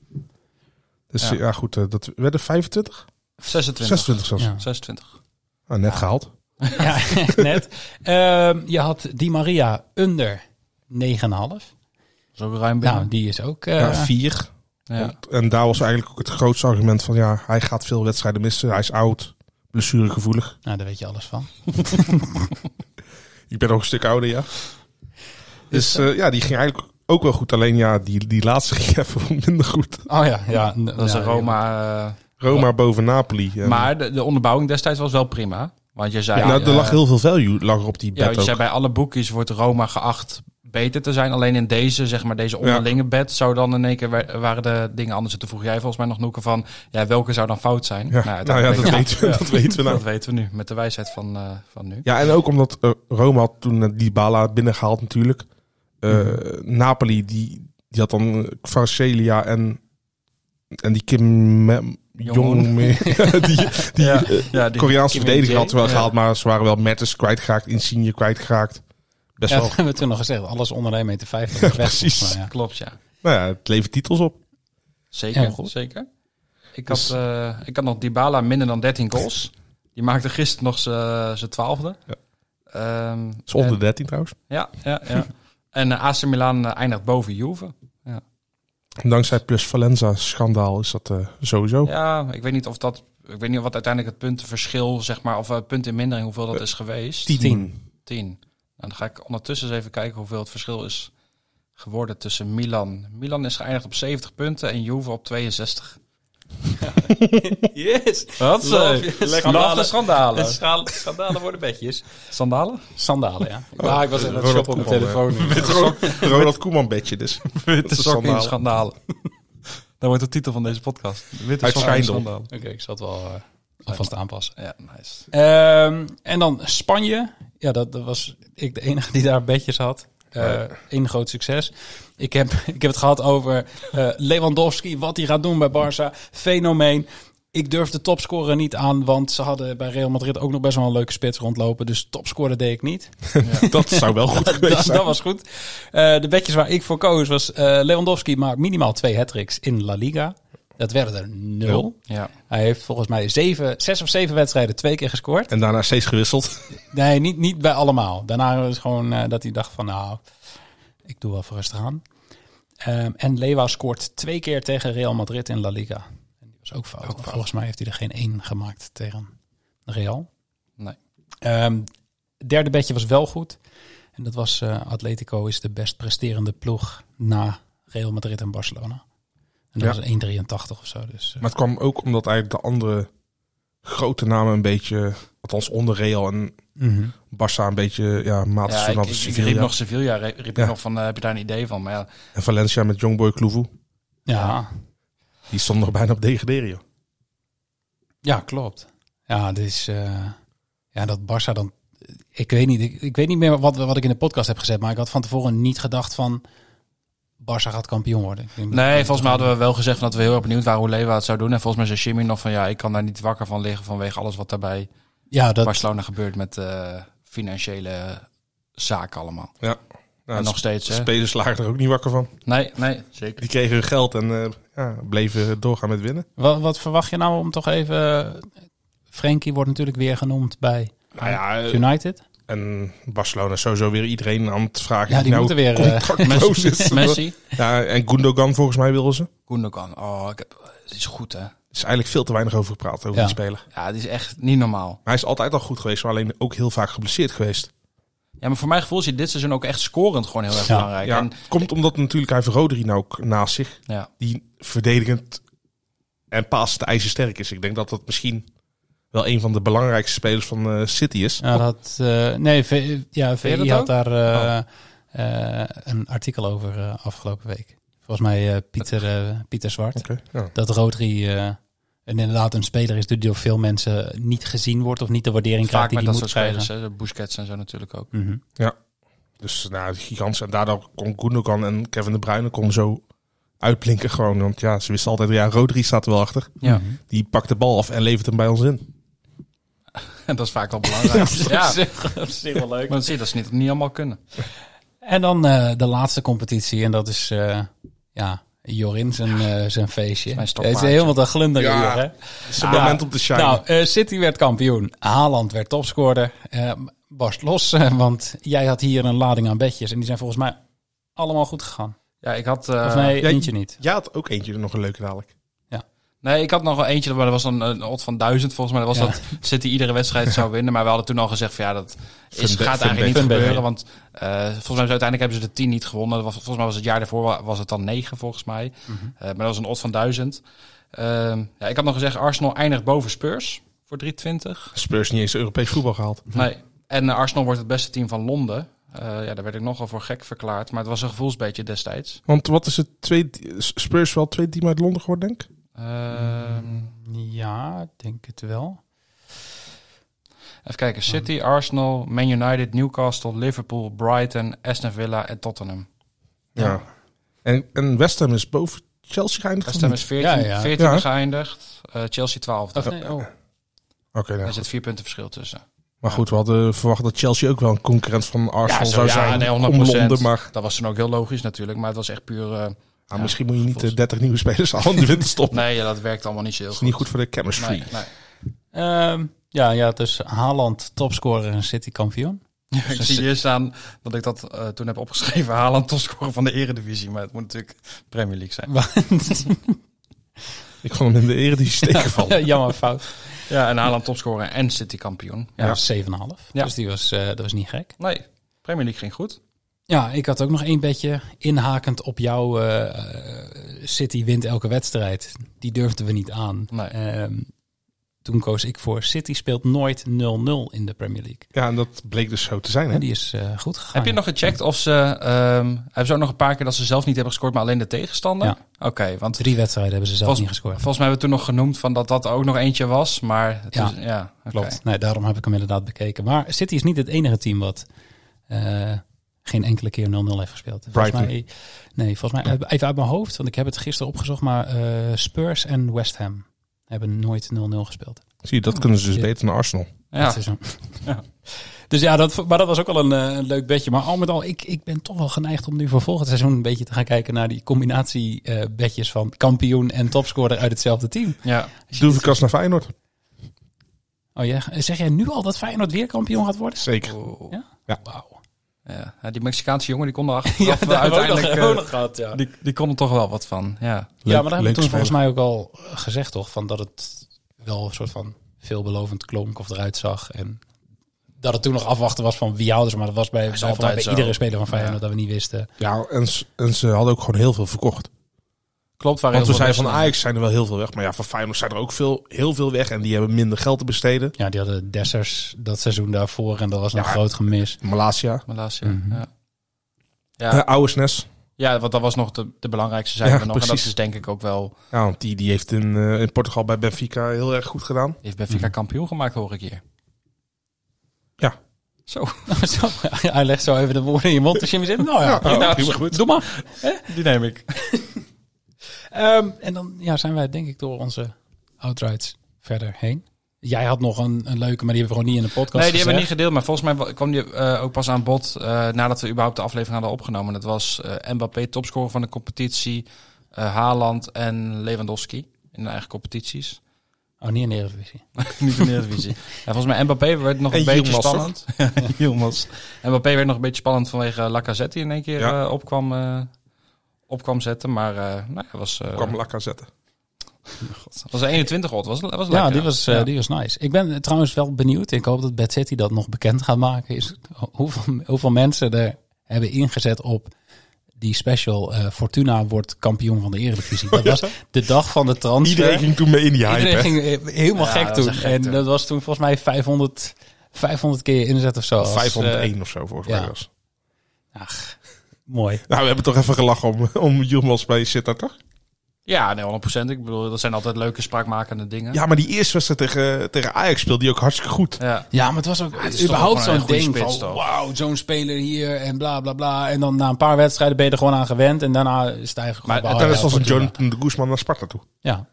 S6: Dus eh, ja, goed, eh, dat werden 25?
S7: 26.
S6: 26 zelfs.
S1: Ja.
S7: 26.
S6: Ah, net gehaald.
S1: Ja, net. Ehm, je had Di Maria onder 9,5.
S7: Zo ruim
S1: Nou,
S7: binnen.
S1: die is ook... eh,
S6: Ja, 4.
S7: ja.
S6: En daar was eigenlijk ook het grootste argument van... ja, hij gaat veel wedstrijden missen. Hij is oud, blessuregevoelig.
S1: nou, daar weet je alles van.
S6: Ik ben ook een stuk ouder, ja. Dus eh, ja, die ging eigenlijk ook wel goed. Alleen ja, die, die laatste [LAUGHS] ging even minder goed.
S1: Oh ja, ja. n-
S7: Dat is
S1: ja,
S7: een Roma. eh,
S6: Roma boven Napoli. En-
S7: Maar de, de onderbouwing destijds was wel prima. Want je zei,
S6: nou, er
S7: eh,
S6: lag heel veel value lag er op die
S7: ja,
S6: bed
S7: je zei
S6: ook.
S7: bij alle boekjes wordt Roma geacht beter te zijn. Alleen in deze, zeg maar, deze onderlinge bed zou dan in één keer wa- waren de dingen anders. En toen vroeg jij volgens mij nog Noeken van, ja, welke zou dan fout zijn?
S6: Ja. Nou ja, dat,
S7: uiteindelijk-
S6: weten we, dat weten we nou.
S7: dat weten we nu. Met de wijsheid van, eh, van nu.
S6: Ja, en ook omdat eh, Roma had toen eh, die Bala binnengehaald natuurlijk. Eh,
S7: Mhm.
S6: Napoli, die, die had dan eh, Kvaratskhelia en, en die Kim Me- Jong...
S7: [LAUGHS]
S6: die die
S7: Ja.
S6: eh,
S7: Ja, die-
S6: Koreaanse verdediger
S7: Kim Min-jae.
S6: had ze wel
S7: Ja.
S6: gehaald, maar ze waren wel Mertens kwijtgeraakt, Insigne kwijtgeraakt. Best
S1: Ja, [LAUGHS]
S6: wel.
S1: dat hebben we toen nog gezegd. Alles onder 1,50 meter vijftig is weg.
S6: Precies.
S1: volgens mij, ja.
S7: Klopt, ja.
S6: Nou ja, het levert titels op.
S7: Zeker,
S1: Ja, goed.
S7: zeker. Ik had,
S6: Dus-
S7: eh, ik had nog Dybala minder dan 13 goals. Die maakte gisteren nog zijn twaalfde.
S6: Ja.
S7: Ehm,
S6: Dat is onder
S7: en-
S6: de 13 trouwens.
S7: Ja, ja, ja. en eh, AC Milan eh, eindigt boven Juve.
S6: Dankzij het Plus Valenza schandaal is dat eh, sowieso.
S7: Ja, ik weet niet of dat... Ik weet niet wat uiteindelijk het puntenverschil, zeg maar... Of eh punt in mindering, hoeveel dat is geweest. 10. En Nou, dan ga ik ondertussen eens even kijken hoeveel het verschil is geworden tussen Milan. Milan is geëindigd op 70 punten en Juve op 62. [LAUGHS] yes! Wat? eh, Schandalen. Schandalen.
S1: Sandalen worden bedjes.
S7: Sandalen?
S1: Sandalen, ja.
S7: Ah,
S1: Maar ik was in het
S6: Ronald
S1: shop op mijn
S6: Koeman,
S1: telefoon.
S6: Met Ro- Ronald Koeman bedje dus.
S7: [LAUGHS] Witte
S6: is
S7: sokken in
S6: schandalen.
S7: schandalen. [LAUGHS] Dat wordt de titel van deze podcast. Witte
S6: Uit
S7: sokken in
S6: Schijndel.
S7: schandalen.
S1: [LAUGHS] Oké, ik zal het wel eh, alvast aanpassen.
S7: Ja, nice.
S1: Ehm, en dan Spanje. Ja, dat, dat was ik de enige die daar bedjes had. Eén groot succes. Ik heb, [LAUGHS] ik heb het gehad over eh, Lewandowski, wat hij gaat doen bij Barça. Fenomeen. Ik durf de topscorer niet aan, want ze hadden bij Real Madrid ook nog best wel een leuke spits rondlopen. Dus topscorer deed ik niet.
S6: Dat zou
S7: [LAUGHS]
S6: wel
S1: [LAUGHS]
S6: goed geweest
S1: Dat, Dus
S6: zijn.
S1: dat was goed. Eh, de bedjes waar ik voor koos was eh, Lewandowski maakt minimaal twee hat in La Liga. Dat werden er nul.
S7: Ja.
S1: Hij heeft volgens mij zeven, zes of zeven wedstrijden twee keer gescoord.
S6: En daarna steeds gewisseld.
S1: Nee, niet, niet bij allemaal. Daarna was het gewoon eh, dat hij dacht van nou, ik doe wel even rustig aan. Ehm, en Lewa scoort twee keer tegen Real Madrid in La Liga. En die was ook fout. Volgens mij heeft hij er geen één gemaakt tegen Real.
S7: Nee.
S1: Ehm, derde bedje was wel goed. En dat was eh, Atletico is de best presterende ploeg na Real Madrid en Barcelona. En dat
S6: Ja.
S1: was een 1,83 of zo. Dus, eh,
S6: [LAUGHS] Maar het kwam ook omdat eigenlijk de andere grote namen een beetje... Althans onder Real en
S1: mhm.
S6: Barça een beetje... Ja, maat
S7: Ja,
S6: ja,
S7: ik, ik- ik
S6: Sevilla.
S7: riep nog Sevilla, riep ik
S6: Ja.
S7: nog van, eh, heb je daar een idee van? Maar ja,
S6: En Valencia met Youngboy Kloevoe.
S1: ja,
S6: Die stond nog bijna op degraderen. joh.
S1: Ja, klopt. Ja, dus eh, ja, dat Barça dan. Ik weet niet, ik, ik weet niet meer wat, wat ik in de podcast heb gezet, maar ik had van tevoren niet gedacht van Barça gaat kampioen worden. Ik denk dat-
S7: Nee, volgens mij hadden we wel gezegd dat we heel erg benieuwd waren hoe Lewa het zou doen. En volgens mij zei Jimmy nog van ja, ik kan daar niet wakker van liggen vanwege alles wat daarbij
S1: ja, dat,
S7: Barcelona gebeurt met eh, financiële zaken allemaal.
S6: Nou,
S7: en nog
S6: de
S7: steeds, hè?
S6: spelers lagen er ook niet wakker van.
S7: Nee, nee, zeker.
S6: Die kregen hun geld en eh, ja, bleven doorgaan met winnen.
S1: wat, wat verwacht je nou om toch even. Frenkie wordt natuurlijk weer genoemd bij
S6: Nou ja, eh,
S1: United.
S6: en Barcelona is sowieso weer iedereen aan het vragen.
S1: Ja, die
S6: nou
S1: moeten weer, eh,
S6: contractloos is.
S7: Messi?
S6: Ja, en Gundogan volgens mij wilden ze. Er
S7: Gundogan. Oh, ik heb, het is goed, hè?
S6: is eigenlijk veel te weinig over gepraat, over
S1: Ja.
S6: die speler.
S7: Ja, het is echt niet normaal.
S6: Maar hij is altijd al goed geweest, maar alleen ook heel vaak geblesseerd geweest.
S7: Ja, maar voor mijn gevoel is hij dit seizoen ook echt scorend gewoon heel erg
S1: Ja,
S7: belangrijk.
S6: Ja,
S7: En,
S6: het komt omdat natuurlijk hij heeft Rodri nou ook naast zich.
S7: ja.
S6: Die verdedigend en paas de ijzersterk is. Ik denk dat dat misschien wel een van de belangrijkste spelers van eh, City is.
S1: Ja, dat, eh, nee, V- ja,
S7: Oh. je dat
S1: VI had
S7: ook? Oh.
S1: daar eh, eh, een artikel over eh, afgelopen week. Volgens mij eh, Pieter, eh, Pieter Zwart.
S6: Oké, ja.
S1: dat Rodri eh, en inderdaad een speler is die door veel mensen niet gezien wordt of niet de waardering
S7: Vaak
S1: krijgt die
S7: met
S1: hij
S7: dat
S1: moet
S7: soort
S1: krijgen.
S7: spelers, hè? de Busquets en zo natuurlijk ook. [LAUGHS]
S1: Mhm.
S6: Dus nou, gigantisch. En daardoor kon Gundogan en Kevin De Bruyne kon zo uitblinken gewoon. Want ja, ze wisten altijd, ja, Rodri staat er wel achter.
S7: Ja.
S6: Die pakt de bal af en levert hem bij ons in.
S7: En dat is vaak
S1: [LAUGHS]
S7: wel belangrijk. ja,
S1: Dat is heel leuk.
S7: maar zie je, dat ze niet, niet allemaal kunnen.
S1: En dan eh, de laatste competitie en dat is eh, ja, Jorin zijn, eh, zijn feestje.
S7: Mijn
S1: Het
S7: stokpaardje.
S1: is helemaal te glunderen
S6: Ja.
S1: hier, hè?
S6: Het is een
S1: Ah,
S6: moment om te shine.
S1: Nou, eh, City werd kampioen. Haaland werd topscorer. Eh, barst los, [LAUGHS] eh, want jij had hier een lading aan bedjes en die zijn volgens mij allemaal goed gegaan.
S7: Ja, ik had... eh,
S1: Of nee,
S6: jij-
S1: eentje niet.
S6: Jij had ook eentje nog een leuke dadelijk.
S7: Nee, ik had nog wel eentje, maar dat was dan een odd van duizend volgens mij. Dat was
S1: Ja. [LAUGHS]
S7: dat City iedere wedstrijd zou winnen. Maar we hadden toen al gezegd van ja, dat is,
S6: Fun-
S7: gaat
S6: fun-
S7: eigenlijk niet
S1: fun-
S7: gebeuren.
S1: fun-
S7: Want eh, volgens mij hebben ze uiteindelijk hebben ze de tien niet gewonnen. Dat was, volgens mij was het jaar daarvoor wa- was het dan negen volgens mij. Eh, maar dat was een odd van duizend. Ehm, ja, ik had nog gezegd, Arsenal eindigt boven Spurs voor 320.
S6: Spurs niet eens Europees voetbal gehaald.
S7: Nee. En eh, Arsenal wordt het beste team van Londen. Eh, ja, daar werd ik nogal voor gek verklaard. Maar het was een gevoelsbeetje destijds.
S6: Want wat is het? Twee, Spurs wel twee team uit Londen geworden, denk ik?
S7: Ehm,
S1: Ja, ik denk het wel.
S7: Even kijken, City, Arsenal, Man United, Newcastle, Liverpool, Brighton, Aston Villa en Tottenham.
S6: Ja. En, en West Ham is boven Chelsea geëindigd?
S7: Aston
S6: of
S7: is 14,
S1: Ja, ja.
S7: 14
S6: Ja.
S7: geëindigd, eh, Chelsea 12.
S1: Of
S7: Daar
S1: nee, oh.
S6: niet? Oké, nou.
S7: zit vier punten verschil tussen.
S6: Maar goed, we hadden verwacht dat Chelsea ook wel een concurrent van Arsenal
S7: zo,
S6: zou
S7: ja,
S6: zijn.
S7: nee,
S6: om
S7: 100%.
S6: Londen, maar
S7: Dat was toen ook heel logisch natuurlijk, maar het was echt puur... eh,
S6: Ah,
S7: Ja,
S6: misschien moet je niet
S7: volgens-
S6: eh, 30 nieuwe spelers aan de winter stoppen.
S7: nee, ja, dat werkt allemaal niet zo heel
S6: dat is
S7: goed.
S6: niet goed voor de chemistry.
S7: Nee,
S1: [LAUGHS]
S7: nee.
S1: Ehm, ja, ja, dus Haaland topscorer en City kampioen.
S7: Ik zie hier staan dat ik dat eh, toen heb opgeschreven. [LAUGHS] Haaland topscorer van de eredivisie. Maar het moet natuurlijk Premier League zijn.
S6: Ik vond hem in de eredivisie
S7: [LAUGHS]
S6: tegenvallen.
S1: Jammer fout.
S7: Ja, en Haaland topscorer en City kampioen.
S1: Ja,
S7: Ja.
S1: dat was 7,5.
S7: Ja.
S1: Dus die was, eh, dat was niet gek.
S7: Nee, Premier League ging goed.
S1: Ja, ik had ook nog één bedje inhakend op jou. eh, eh, City wint elke wedstrijd. Die durfden we niet aan.
S7: Nee.
S1: Ehm, toen koos ik voor City speelt nooit 0-0 in de Premier League.
S6: Ja, en dat bleek dus zo te zijn. Hè?
S1: En die is eh, goed gegaan.
S7: Heb je nog gecheckt of ze... ehm hebben ze ook nog een paar keer dat ze zelf niet hebben gescoord, maar alleen de tegenstander?
S1: Ja.
S7: Oké, want
S1: Drie wedstrijden hebben ze zelf
S7: Volgens-
S1: niet gescoord.
S7: volgens mij hebben we toen nog genoemd van dat dat ook nog eentje was. Maar het
S1: Ja,
S7: is- ja oké.
S1: Klopt. Nee, daarom heb ik hem inderdaad bekeken. Maar City is niet het enige team wat eh, geen enkele keer 0-0 heeft gespeeld. Volgens
S6: Brighton.
S1: mij, nee, volgens mij eh, even uit mijn hoofd, want ik heb het gisteren opgezocht. Maar eh, Spurs en West Ham hebben nooit 0-0 gespeeld.
S6: Zie je, dat kunnen ze dus
S1: Ja.
S6: beter dan Arsenal.
S7: Ja,
S1: Dit seizoen. [LAUGHS] Dus ja, dat, maar dat was ook wel een, eh, een leuk bedje. Maar al met al, ik, ik ben toch wel geneigd om nu voor volgend seizoen een beetje te gaan kijken naar die combinatie eh, bedjes van kampioen en topscorer uit hetzelfde team.
S7: Ja.
S6: Doevekas naar Feyenoord.
S1: Oh ja, zeg jij nu al dat Feyenoord weer kampioen gaat worden?
S6: Zeker.
S7: Oh.
S1: Ja?
S6: Ja.
S1: Wauw.
S7: Ja. Ja, die Mexicaanse jongen
S1: [LAUGHS]
S7: die kon er achteraf,
S1: Ja,
S7: eh,
S1: daar hebben we ook nog-
S7: uiteindelijk...
S1: hebben we ook
S7: eh,
S1: nog gehad, ja.
S7: die, die kon er toch wel wat van, ja.
S1: ja, maar daar hebben we toen
S6: leuk
S1: volgens mij ook al eh, gezegd, toch? Van dat het wel een soort van veelbelovend klonk of eruit zag. En dat het toen nog afwachten was van wie houden ze. Maar dat was bij, bij, volgens mij
S7: altijd
S1: bij
S7: zo.
S1: iedere speler van Feyenoord dat we niet wisten.
S6: Ja, en, ze- en ze hadden ook gewoon heel veel verkocht.
S7: Klopt, waar
S6: Want we
S7: heel veel
S6: zijn van
S7: wisselen.
S6: Ajax zijn er wel heel veel weg. Maar ja, van Feyenoord zijn er ook veel, heel veel weg. En die hebben minder geld te besteden.
S1: Ja, die hadden Dessers dat seizoen daarvoor en dat was een
S6: Ja.
S1: groot gemis.
S6: Malasia.
S7: Malasia,
S6: Mhm.
S7: ja. Ja.
S6: Ja. Ouwesnes.
S7: ja, want dat was nog de, de belangrijkste zijn
S6: Ja,
S7: we nog. En dat
S6: precies.
S7: is denk ik ook wel...
S6: Ja, want die, die heeft in, eh, in Portugal bij Benfica heel erg goed gedaan.
S7: Heeft Benfica kampioen gemaakt, hoor ik hier.
S6: Ja.
S7: Zo.
S1: Zo, Hij legt zo even de woorden in je mond als je hem zit. Nou ja,
S6: oh,
S1: nou,
S6: prima, goed.
S1: doe maar.
S7: Die neem ik.
S1: Ehm, en dan ja, zijn wij denk ik door onze outrights verder heen. Jij had nog een, een leuke, maar die hebben we gewoon niet in de podcast
S7: Nee, die hebben we niet
S1: gezegd.
S7: gedeeld. Maar volgens mij kwam die eh, ook pas aan bod eh, nadat we überhaupt de aflevering hadden opgenomen. Dat was eh, Mbappé, topscorer van de competitie. eh, Haaland en Lewandowski in de eigen competities.
S1: Oh, niet in de Eredivisie.
S7: Niet in
S6: [LAUGHS]
S7: de Eredivisie. En volgens mij Mbappé werd nog
S6: En
S7: een beetje
S6: Yilmaz, [LAUGHS]
S7: spannend. Ja, Yilmaz. Mbappé werd nog een beetje spannend vanwege eh, Lacazette die in één keer
S6: Ja.
S7: eh, opkwam, eh, opkwam zetten. Maar eh nou, ja, was, eh,
S6: Kwam Lakka zetten.
S7: was een 21 odd. Was, was lekker.
S1: Ja, die was, eh,
S7: Ja.
S1: die was nice. Ik ben eh, trouwens wel benieuwd. Ik hoop dat Bad City dat nog bekend gaat maken. Is ho- hoeveel, hoeveel mensen er hebben ingezet op die special eh, Fortuna wordt kampioen van de Eredivisie. Dat [LAUGHS] was de dag van de transfer.
S6: Iedereen ging toen mee in die hype.
S1: eh, Iedereen
S6: hè?
S1: ging eh, helemaal
S7: Ja,
S1: gek
S7: dat was
S1: toen.
S7: echt gek
S1: en
S7: toen.
S1: dat was toen volgens mij 500, 500 keer inzet of zo. Als, eh,
S6: 501 of zo volgens
S1: ja.
S6: mij was.
S1: Ach, mooi.
S6: Nou, we hebben toch even gelachen om, [LAUGHS] om Yilmaz bij Sittard, toch?
S7: Ja, nee, 100%. Ik bedoel, dat zijn altijd leuke spraakmakende dingen.
S6: Ja, maar die eerste wedstrijd tegen, tegen Ajax speelde die ook hartstikke goed.
S7: ja.
S1: Ja, maar het was ook
S7: het is toch
S1: überhaupt
S7: ook gewoon
S1: zo'n
S7: een hele
S1: ding
S7: goede spits,
S1: van
S7: toch?
S1: wauw, zo'n speler hier en bla bla bla. En dan na een paar wedstrijden ben je er gewoon aan gewend. En daarna is het eigenlijk
S7: Maar
S1: gewoon,
S6: Daar
S1: oh,
S6: is
S1: ja,
S6: als een
S1: Fortuna.
S6: Jonathan de Guzman naar Sparta toe.
S1: Ja,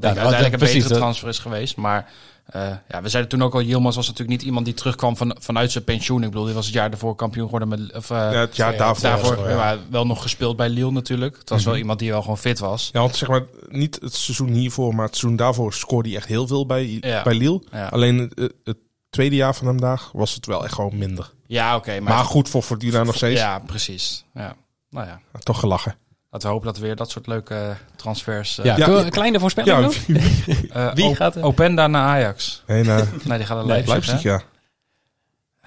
S1: Ja, dat-
S6: nou,
S7: denk ik uiteindelijk
S1: dat-
S7: een
S1: precies,
S7: betere
S1: dat-
S7: transfer is geweest. Maar eh, ja, we zeiden toen ook al, Yilmaz was natuurlijk niet iemand die terugkwam van, vanuit zijn pensioen. Ik bedoel, die was het jaar daarvoor kampioen geworden. Met, of, eh,
S6: Ja, het jaar daarvoor.
S7: daarvoor
S6: ja. Mhm.
S7: maar wel nog gespeeld bij Lille natuurlijk. Het was wel iemand die wel gewoon fit was.
S6: Ja, want zeg maar, niet het seizoen hiervoor, maar het seizoen daarvoor scoorde hij echt heel veel bij,
S7: Ja.
S6: bij Lille.
S7: Ja.
S6: Alleen het, het tweede jaar van hem daar was het wel echt gewoon minder.
S7: Ja, oké.
S6: Maar,
S7: maar
S6: goed voor Fortuna nog steeds. Ah,
S7: ja, precies. Ja. Nou ja,
S6: Toch gelachen.
S7: laten we hopen dat we weer dat soort leuke transfers... eh,
S1: ja.
S6: Ja.
S1: kunnen we een kleine voorspelling
S6: Ja,
S1: doen?
S6: [LAUGHS]
S7: eh,
S1: wie
S7: Op-
S1: gaat er-
S7: Openda naar Ajax.
S6: en, eh
S7: Nee, die gaat naar Leipzig,
S6: Leipzig,
S7: hè?
S6: ja.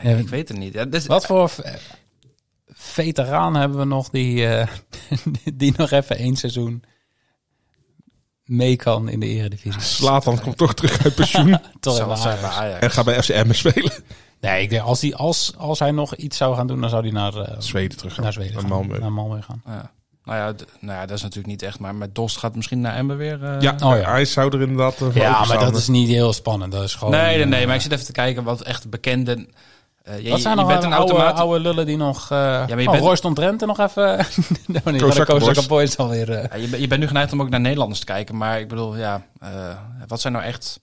S7: Nee, ik weet het niet. Ja, dus,
S1: Wat voor eh, veteraan hebben we nog die, eh, [LAUGHS] die nog even één seizoen mee kan in de eredivisie?
S6: Slatan komt toch terug
S1: [LAUGHS]
S6: uit pensioen
S1: Toch
S7: Zo,
S1: even
S7: zijn bij
S1: Ajax.
S7: Ajax.
S6: en gaat bij FCM spelen.
S1: Nee, ik denk, als, die, als, als hij nog iets zou gaan doen, dan zou hij naar, eh,
S6: Zweden terug.
S1: naar Zweden
S6: Naar
S1: gaan.
S6: Malmö.
S1: Naar Malmö gaan.
S7: Ja. Nou, ja, d- nou ja, dat is natuurlijk niet echt. Maar met Dost gaat misschien naar Emmen weer... eh,
S6: Ja,
S1: Oh, ja.
S6: hij zou er inderdaad eh, voor
S1: Ja, maar
S6: openstaan.
S1: dat is niet heel spannend. Dat is gewoon,
S7: Oh, nee, nee, nee,
S1: eh,
S7: maar ik zit even te kijken wat echt bekende. eh je,
S1: Wat zijn
S7: je
S1: nog
S7: bent een
S1: oude,
S7: automaat.
S1: oude lullen die nog... eh ja,
S7: maar je
S1: oh,
S7: bent-
S1: Roy stond Drenthe nog even... [LAUGHS] nee, maar die
S6: Kozakken
S1: van de Kozakken
S6: Boys.
S1: Boys alweer... eh.
S7: Ja, je, bent- je bent nu geneigd om ook naar Nederlanders te kijken, maar ik bedoel, ja, eh, wat zijn nou echt?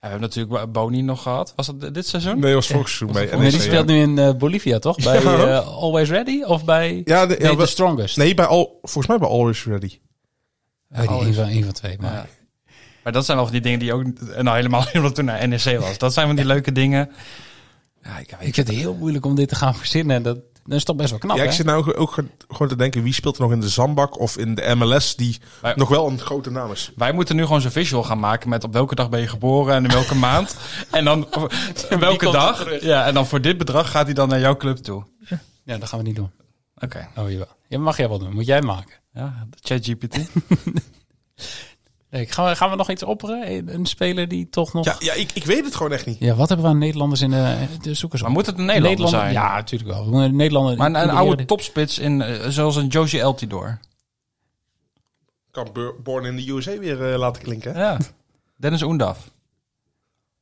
S7: Ja, we hebben natuurlijk Boni nog gehad. Was dat dit seizoen?
S6: Nee, was vorig seizoen bij
S1: nee,
S6: NEC,
S1: die
S6: ja.
S1: speelt nu in eh, Bolivia, toch? Bij
S6: Ja.
S1: eh, Always Ready of bij...
S6: Ja, de- ja,
S1: nee, The
S6: wel-
S1: Strongest.
S6: nee, bij al, volgens mij bij Always Ready.
S1: Weet niet,
S7: Always.
S1: één van, één van twee. Maar.
S7: Ja. Maar dat zijn wel van die dingen die ook, en nou helemaal [LAUGHS] niet omdat toen naar NEC was. Dat zijn van die leuke dingen. Ja, ik weet
S1: Ik vind het heel moeilijk om dit te gaan verzinnen. Dat, dat is toch best wel knap,
S6: ja, ik
S1: hè?
S6: zit nou ook, ook gewoon te denken, wie speelt er nog in de Zandbak of in de MLS die
S7: Maar-
S6: nog wel een grote naam is.
S7: Wij moeten nu gewoon zo'n visual gaan maken met op welke dag ben je geboren en in welke [LAUGHS] maand. En dan en welke
S1: komt er
S7: dag. Ja, en dan voor dit bedrag gaat hij dan naar jouw club toe. Oké.
S1: Ja, dat gaan we niet doen. Oh, jawel. Ja, mag jij wel doen. Moet jij maken.
S7: Ja, ChatGPT.
S1: Nee, gaan, we, gaan we nog iets opperen? Een, een speler die toch nog...
S6: Ja,
S1: Ja.
S6: ja ik, ik weet het gewoon echt niet.
S1: wat hebben we aan Nederlanders in de... de zoekers
S7: Maar moet het een Nederlander zijn?
S1: Ja, natuurlijk wel. We moeten Nederlander...
S7: Maar een,
S1: in
S7: een
S1: de
S7: oude
S1: Eredivisie-
S7: topspits in, eh, zoals een Josie Eltidoor.
S6: Kan Bur- Born in the USA weer eh, laten klinken. hè?
S7: Ja. Dennis Oendaf.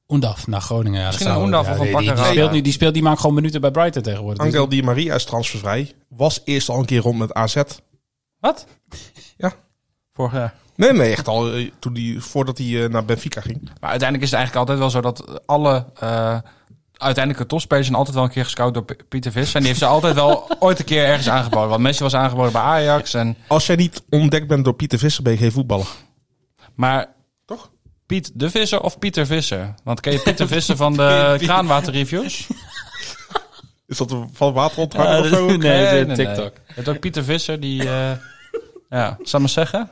S1: Oendaf naar Groningen. Ja,
S7: Misschien
S1: dat zou-
S7: een Oendaf
S1: ja,
S7: of een
S1: die- die,
S7: Bakker.
S1: speelt nu, die speelt, die maakt gewoon minuten bij Brighton tegenwoordig. Dus
S6: Angel Di Maria is transfervrij. Was eerst al een keer rond met AZ.
S7: Wat?
S6: Ja.
S7: Vorig jaar.
S6: Nee, nee, echt al eh, toen die, voordat hij eh, naar Benfica ging.
S7: Maar uiteindelijk is het eigenlijk altijd wel zo dat alle eh, uiteindelijk een topspelers zijn altijd wel een keer gescout door P- Pieter Vis. En die heeft ze altijd wel ooit een keer ergens aangeboden. Want Messi was aangeboden bij Ajax. En,
S6: Als jij niet ontdekt bent door Pieter Visser, ben je geen voetballer.
S7: maar
S6: Toch?
S7: Piet de Visser of Pieter Visser? Want ken je Pieter Visser van de kraanwaterreviews?
S6: Is dat een van water ontvangen of zo?
S1: nee, TikTok.
S7: Je hebt ook Pieter Visser die... eh ja, zal ik maar zeggen?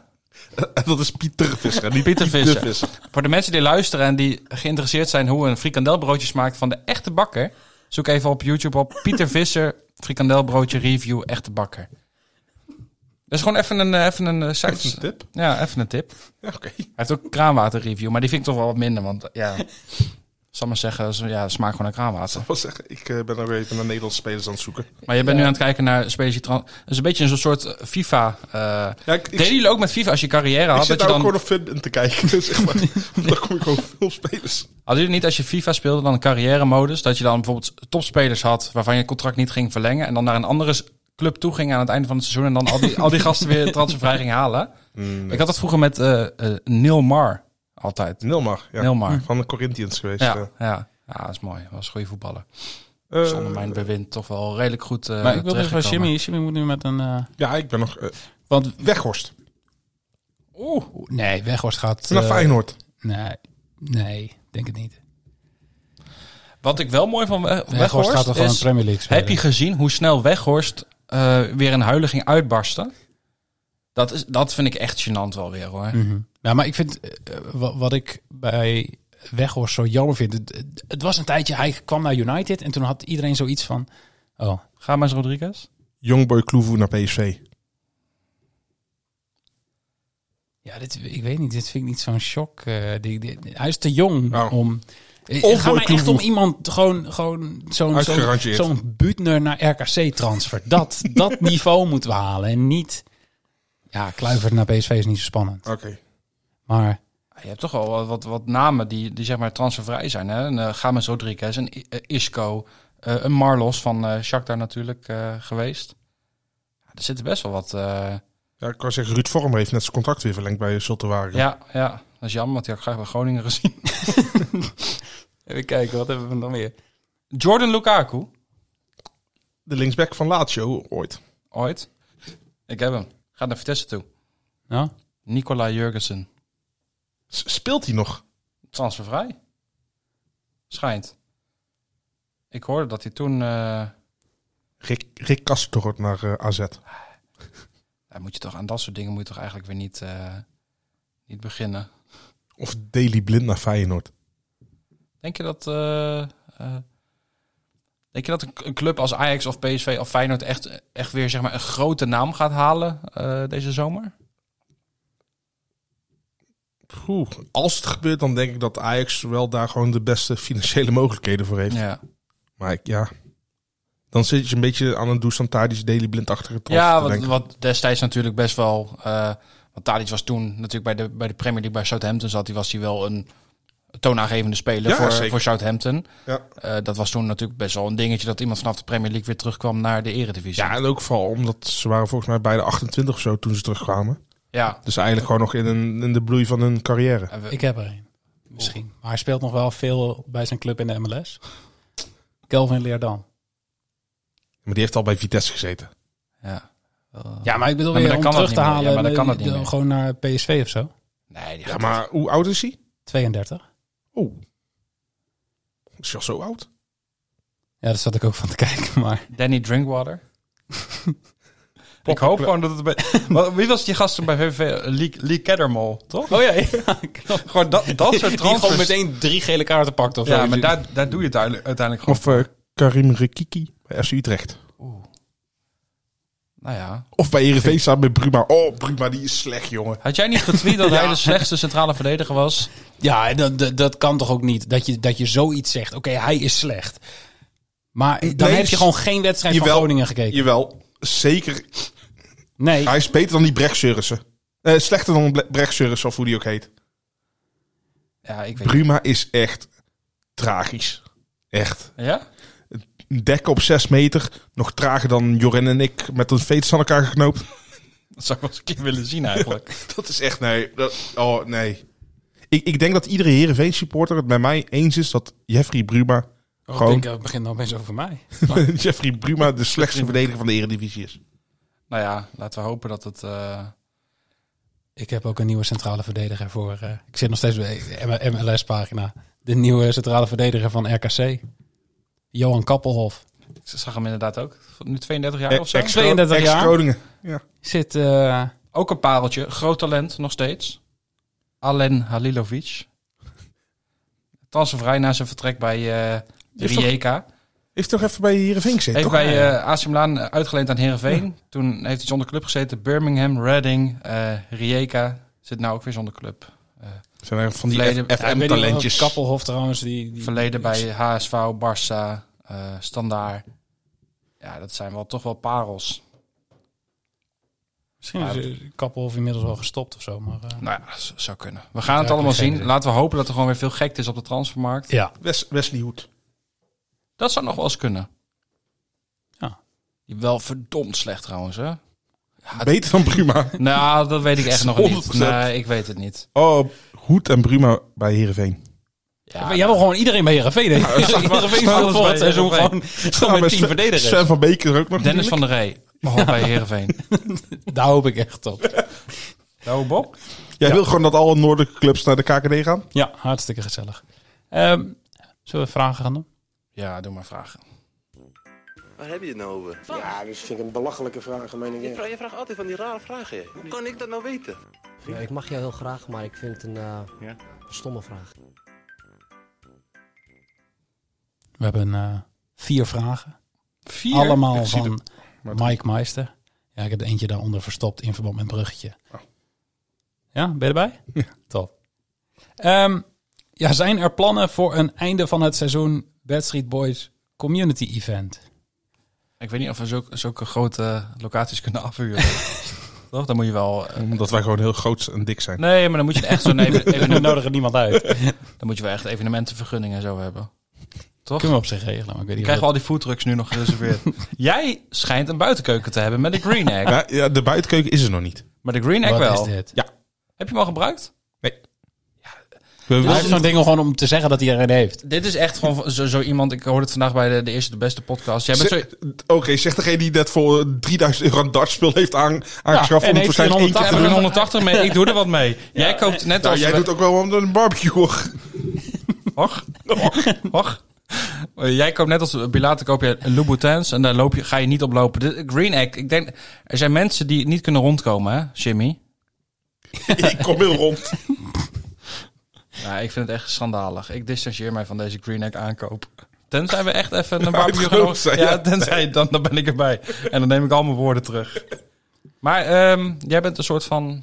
S6: [LAUGHS] Dat is Pieter Visser, en niet
S7: Pieter
S6: Pieter,
S7: Visser.
S6: Visser.
S7: Voor de mensen die luisteren en die geïnteresseerd zijn hoe een frikandelbroodje smaakt van de echte bakker, zoek even op YouTube op
S6: [LAUGHS]
S7: Pieter Visser frikandelbroodje review echte bakker. Dat is gewoon even een, eh, even een eh, site.
S6: Even een tip.
S7: Ja, even een tip.
S6: Ja, oké.
S7: Hij heeft ook kraanwater review, maar die vind ik toch wel wat minder, want eh,
S6: [LAUGHS]
S7: ja, zal maar zeggen, zo- ja, smaakt gewoon naar kraanwater.
S6: Wat zeggen? Ik eh, ben nog even naar Nederlandse spelers aan het zoeken.
S7: Maar je bent nu aan het kijken naar Specie Trans. Dat is een beetje een soort eh, FIFA. eh
S6: Ja, ik, ik,
S7: deden jullie ook met FIFA als je carrière
S6: ik
S7: had?
S6: zit
S7: Dat je
S6: daar ook
S7: dan,
S6: gewoon op film in te kijken. [LAUGHS] Zeg
S7: [LAUGHS]
S6: maar. Daar kom ik gewoon veel spelers.
S7: Hadden jullie niet als je FIFA speelde dan een carrière-modus? Dat je dan bijvoorbeeld topspelers had waarvan je contract niet ging verlengen. En dan naar een andere s- club toe ging aan het einde van het seizoen. En dan al die, al die gasten weer transfervrij ging halen.
S6: Hmm.
S7: Ik had dat vroeger met eh eh, Neil Mar altijd.
S6: Nilmar, ja.
S7: Neil
S1: Hm.
S7: Mar.
S6: Van de Corinthians geweest. eh.
S1: Dus,
S7: Ja, ja. ja, dat is mooi. Dat was een goede voetballer.
S6: Eh,
S7: Zonder mijn bewind toch wel redelijk goed eh
S1: Maar ik wil even
S7: terechtgekomen.
S1: van Jimmy. Jimmy moet nu met een... eh,
S6: ja, ik ben nog... eh,
S1: want,
S6: Weghorst.
S1: oeh, nee, Weghorst gaat...
S6: Naar
S1: eh,
S6: Feyenoord.
S1: Nee, nee, denk het niet.
S7: Wat ik wel mooi van Weghorst,
S1: Weghorst gaat toch gewoon een
S7: is...
S1: Premier League spelen?
S7: Heb je gezien hoe snel Weghorst eh, weer een huilen ging uitbarsten? Dat, is, dat vind ik echt gênant wel weer hoor.
S1: Mhm. Nou, maar ik vind eh, wa- wat, ik bij Weghorst zo jammer vind. Het, het was een tijdje, hij kwam naar United en toen had iedereen zoiets van. Oh,
S7: Ga maar eens Rodriguez.
S6: Youngboy Kloevoe naar PSV.
S1: ja, dit, ik weet niet, dit vind ik niet zo'n shock. eh, die, die- hij is te jong
S6: Nou.
S1: om.
S6: Of
S1: Het gaat mij echt om
S6: Roy Kloevoet.
S1: iemand, gewoon, gewoon zo'n zo'n
S6: Uitgerangeerd.
S1: zo'n Buutner naar RKC transfer. Dat, dat niveau moeten we halen en niet... Ja, Kluivert naar PSV is niet zo spannend.
S6: Oké.
S1: Maar
S7: Je hebt toch wel wat, wat, wat namen die, die zeg maar transfervrij zijn. Hè? Een uh, Games Rodriguez, een I- eh, Isco, eh, een Marlos van eh Shakhtar natuurlijk eh, geweest. Ja, er zitten best wel wat... eh,
S6: Ja, ik kan zeggen, Ruud Vormer heeft net zijn contract weer verlengd bij Zultewagen.
S7: ja, ja, dat is jammer, want die had ik graag bij Groningen gezien. [LAUGHS]
S1: even kijken, wat hebben we nog meer?
S7: Jordan Lukaku,
S6: De linksback van Lazio ooit.
S7: ooit. Ik heb hem. Gaat naar Vitesse toe.
S1: Nou,
S7: Nicola Jurgensen,
S6: S- speelt hij nog?
S7: transfervrij. Schijnt. Ik hoorde dat hij toen... eh,
S6: Rick, Rick Kasten wordt naar eh, AZ.
S7: daar moet je toch, aan dat soort dingen moet je toch eigenlijk weer niet, eh, niet beginnen.
S6: Of Daily Blind naar Feyenoord.
S7: Denk je dat, eh, eh, denk je dat een, een club als Ajax of PSV of Feyenoord echt, echt weer zeg maar, een grote naam gaat halen eh, deze zomer?
S6: Poeh, Als het gebeurt, dan denk ik dat Ajax wel daar gewoon de beste financiële mogelijkheden voor heeft.
S7: Ja,
S6: Maar ik, ja, dan zit je een beetje aan een Dusan Tadic Daily Blind-achtige transfer
S7: ja
S6: te
S7: wat,
S6: denken.
S7: wat destijds natuurlijk best wel... eh want Tadic was toen natuurlijk bij de, bij de Premier League bij Southampton zat. Die was hij wel een toonaangevende speler
S6: Ja,
S7: voor,
S6: zeker.
S7: voor Southampton.
S6: Ja.
S7: Eh, dat was toen natuurlijk best wel een dingetje dat iemand vanaf de Premier League weer terugkwam naar de eredivisie.
S6: ja, en ook vooral omdat ze waren volgens mij bij de 28 of zo toen ze terugkwamen.
S7: ja.
S6: Dus eigenlijk gewoon nog in, een, in de bloei van hun carrière.
S7: En we-
S1: Ik heb er een. Misschien. Maar hij speelt nog wel veel bij zijn club in de MLS. Kelvin Leerdam.
S6: Maar die heeft al bij Vitesse gezeten.
S7: ja. Eh,
S1: Ja, maar ik bedoel
S7: Ja, maar
S1: weer
S7: dan
S1: om
S7: kan dat
S1: terug te
S7: niet meer.
S1: halen.
S7: Ja, maar dan kan dat niet
S1: eh,
S7: meer.
S1: Gewoon naar PSV of zo.
S7: Nee, die
S6: Ja,
S7: gaat
S6: maar hoe oud is hij?
S1: 32.
S6: Oeh. Is hij al zo oud?
S1: Ja, daar zat ik ook van te [LAUGHS] kijken. Maar
S7: Danny Drinkwater. [LAUGHS] ik hoop gewoon dat het... Bij... [LAUGHS] Wat- Wie was die gast toen bij VVV? Lee, Lee Kettermol, toch?
S1: Oh ja, ja.
S7: Gewoon [LAUGHS] dat, dat
S1: [LAUGHS]
S7: soort transfers.
S1: meteen drie gele kaarten pakt of
S7: ja, maar daar, daar doe je het uile- uiteindelijk gewoon.
S6: Of eh, Karim Rekiki bij FC Utrecht.
S7: Nou ja.
S6: Of bij Heerenveen staat met Bruma. Oh, Bruma, die is slecht, jongen.
S7: Had jij niet getweet [LAUGHS] dat hij de slechtste centrale verdediger was?
S1: Ja, en dat, dat, dat kan toch ook niet. Dat je, dat je zoiets zegt. Oké, hij is slecht. Maar dan
S6: Nee,
S1: heb je
S6: s-
S1: gewoon geen wedstrijd van
S6: Jawel.
S1: Groningen gekeken.
S6: Jawel, zeker.
S1: Nee,
S6: Hij is beter dan die Brecht Surrissen. Eh, slechter dan Ble- Brecht Surrissen, of hoe die ook heet.
S7: Ja, ik weet
S6: Bruma is echt tragisch. Echt.
S7: niet. Ja?
S6: Een dek op 6 meter. Nog trager dan Joren en ik met een fetus aan elkaar geknoopt.
S7: Dat zou ik wel eens een keer willen zien eigenlijk.
S6: [LAUGHS] Dat is echt, nee. Dat, oh, nee. Ik, ik denk dat iedere Heerenveen supporter het bij mij eens is dat Jeffrey Bruma
S1: Oh, ik
S6: Gewoon.
S1: denk, eh, het begint nou opeens over mij.
S6: [LAUGHS] Jeffrey Bruma de slechtste verdediger van de Eredivisie is.
S7: [LAUGHS] Nou ja, laten we hopen dat het... eh,
S1: Ik heb ook een nieuwe centrale verdediger voor. eh, ik zit nog steeds bij de MLS-pagina. De nieuwe centrale verdediger van RKC. Johan Kappelhof.
S7: ik zag hem inderdaad ook. Nu 32 jaar of
S6: Ex-
S7: zo.
S6: ex-
S1: 32 jaar.
S6: Ex-Groningen.
S1: Zit. eh,
S7: Ook een pareltje. Groot talent nog steeds. Alen Halilovic. Transfervrij na zijn vertrek bij eh,
S6: Is toch-
S7: Rijeka.
S6: Heeft toch even bij Heerenveen gezeten,
S7: Heeft
S6: toch?
S7: bij eh, AC Milan uitgeleend aan Heerenveen. Toen heeft hij zonder club gezeten. Birmingham, Reading, eh Rijeka. Zit nou ook weer zonder club.
S6: Zijn er van die
S7: Verleden- Ja, ik weet niet of
S6: FM-talentjes.
S1: Oh, Kappelhof trouwens. Die, die-
S7: Verleden bij HSV, Barça, eh Standaard. Ja, dat zijn wel toch wel parels.
S1: Misschien is eh, Kappelhof inmiddels wel gestopt of zo. Maar, eh,
S7: Nou ja, z- zou kunnen. We gaan het
S1: Ja,
S7: allemaal
S1: geen
S7: zien.
S1: idee.
S7: Laten we hopen dat er gewoon weer veel gekte is op de transfermarkt.
S1: ja.
S6: Wes- Wesley Hoed.
S7: Dat zou nog wel eens kunnen.
S1: Ja.
S7: Die wel verdomd slecht trouwens, hè?
S6: Beter dan
S7: [LAUGHS]
S6: Bruma.
S7: Nou, dat weet ik
S1: [LAUGHS]
S7: echt nog niet.
S6: 100%.
S7: Nee, ik weet het niet.
S6: Oh, Hoed en Bruma bij Heerenveen.
S7: Ja,
S1: Jij
S7: [LAUGHS]
S1: wil gewoon iedereen bij Heerenveen. hè? Heerenveen
S7: staat
S1: speelt
S7: wel
S1: voor
S7: bij
S1: het seizoen gewoon,
S7: Heerenveen.
S1: gewoon met tien
S6: Sven-
S1: verdedigers.
S6: Sven van Beek is er ook nog.
S7: Dennis van der Rey. Behalve bij Heerenveen.
S1: [LAUGHS] Daar hoop ik echt op.
S7: Nou, Bob.
S6: Jij wil gewoon dat alle noordelijke clubs naar de KKD gaan?
S1: Ja, hartstikke gezellig. Ehm, zullen we vragen gaan doen?
S7: Ja, doe maar vragen.
S9: Waar heb je het nou over?
S3: Ja, dat vind ik een belachelijke vraag, meen ik.
S9: Je
S3: echt.
S9: vraagt, je vraagt altijd van die rare vragen. hè. Hoe kan ik dat nou weten?
S10: Ik mag jou heel graag, maar ik vind het een eh, stomme vraag.
S1: We hebben eh, vier vragen.
S7: Vier.
S1: Allemaal
S6: Ik zie
S1: van Mike Meister. Ja, ik heb er eentje daaronder verstopt in verband met een bruggetje. Ja, ben je erbij? Oh. Ja. Top. Ehm, ja, zijn er plannen voor een einde van het seizoen Bad Street Boys Community Event?
S7: Ik weet niet of we zulke, zulke grote locaties
S1: [LAUGHS]
S7: kunnen afhuren. Toch? Dan moet je wel... eh,
S6: Omdat wij gewoon heel groot en dik zijn.
S7: Nee, maar dan moet je echt
S1: [LAUGHS]
S7: zo'n
S1: [LAUGHS]
S7: even,
S1: We
S7: even-
S1: nodigen niemand uit.
S7: dan moet je wel echt evenementenvergunningen en zo hebben. Toch?
S1: Kunnen we op zich regelen, maar ik weet niet
S7: Krijgen we
S1: of
S7: al die foodtrucks nu nog
S1: [LAUGHS]
S7: gereserveerd? Jij schijnt een buitenkeuken te hebben met de Green Egg.
S6: Ja, ja, de buitenkeuken is er nog niet.
S7: Maar de Green Egg
S1: dat- wat
S7: wel.
S1: is dit?
S7: Heb je hem al gebruikt?
S6: We
S1: Hij heeft zo'n ding gewoon om te zeggen dat hij er een heeft.
S7: Dit is echt gewoon zo, zo iemand. Ik hoorde het vandaag bij de, de eerste, de beste podcast. Jij bent zo,
S6: Zeg- Oké, zegt degene die net voor eh, 3000 euro een dartspel heeft aan, aangeschaft.
S1: en
S6: om het
S1: heeft
S6: waarschijnlijk één
S1: €180
S6: keer
S7: jij
S6: te
S7: doet
S6: doen.
S7: 180 mee. Ik doe er wat mee. Jij koopt net
S6: Nou,
S7: als.
S6: jij doet ook wel om een barbecue.
S1: [LAUGHS]
S6: hoor. [LAUGHS]
S7: Och, och, och. Eh, Jij koopt net als Bilater koop je Louboutins en daar loop je, ga je niet op lopen. De Green Egg, ik denk, er zijn mensen die niet kunnen rondkomen, hè, Jimmy?
S6: Ik kom heel rond.
S7: Ja, ik vind het echt schandalig. Ik distancieer mij van deze Green Egg aankoop. Tenzij we echt even [LAUGHS] een barbecue gaan
S6: groot
S7: or-
S6: zijn,
S7: Ja,
S6: ja.
S7: tenzij, dan, dan ben ik erbij. En dan neem ik al mijn woorden terug. Maar ehm, jij bent een soort van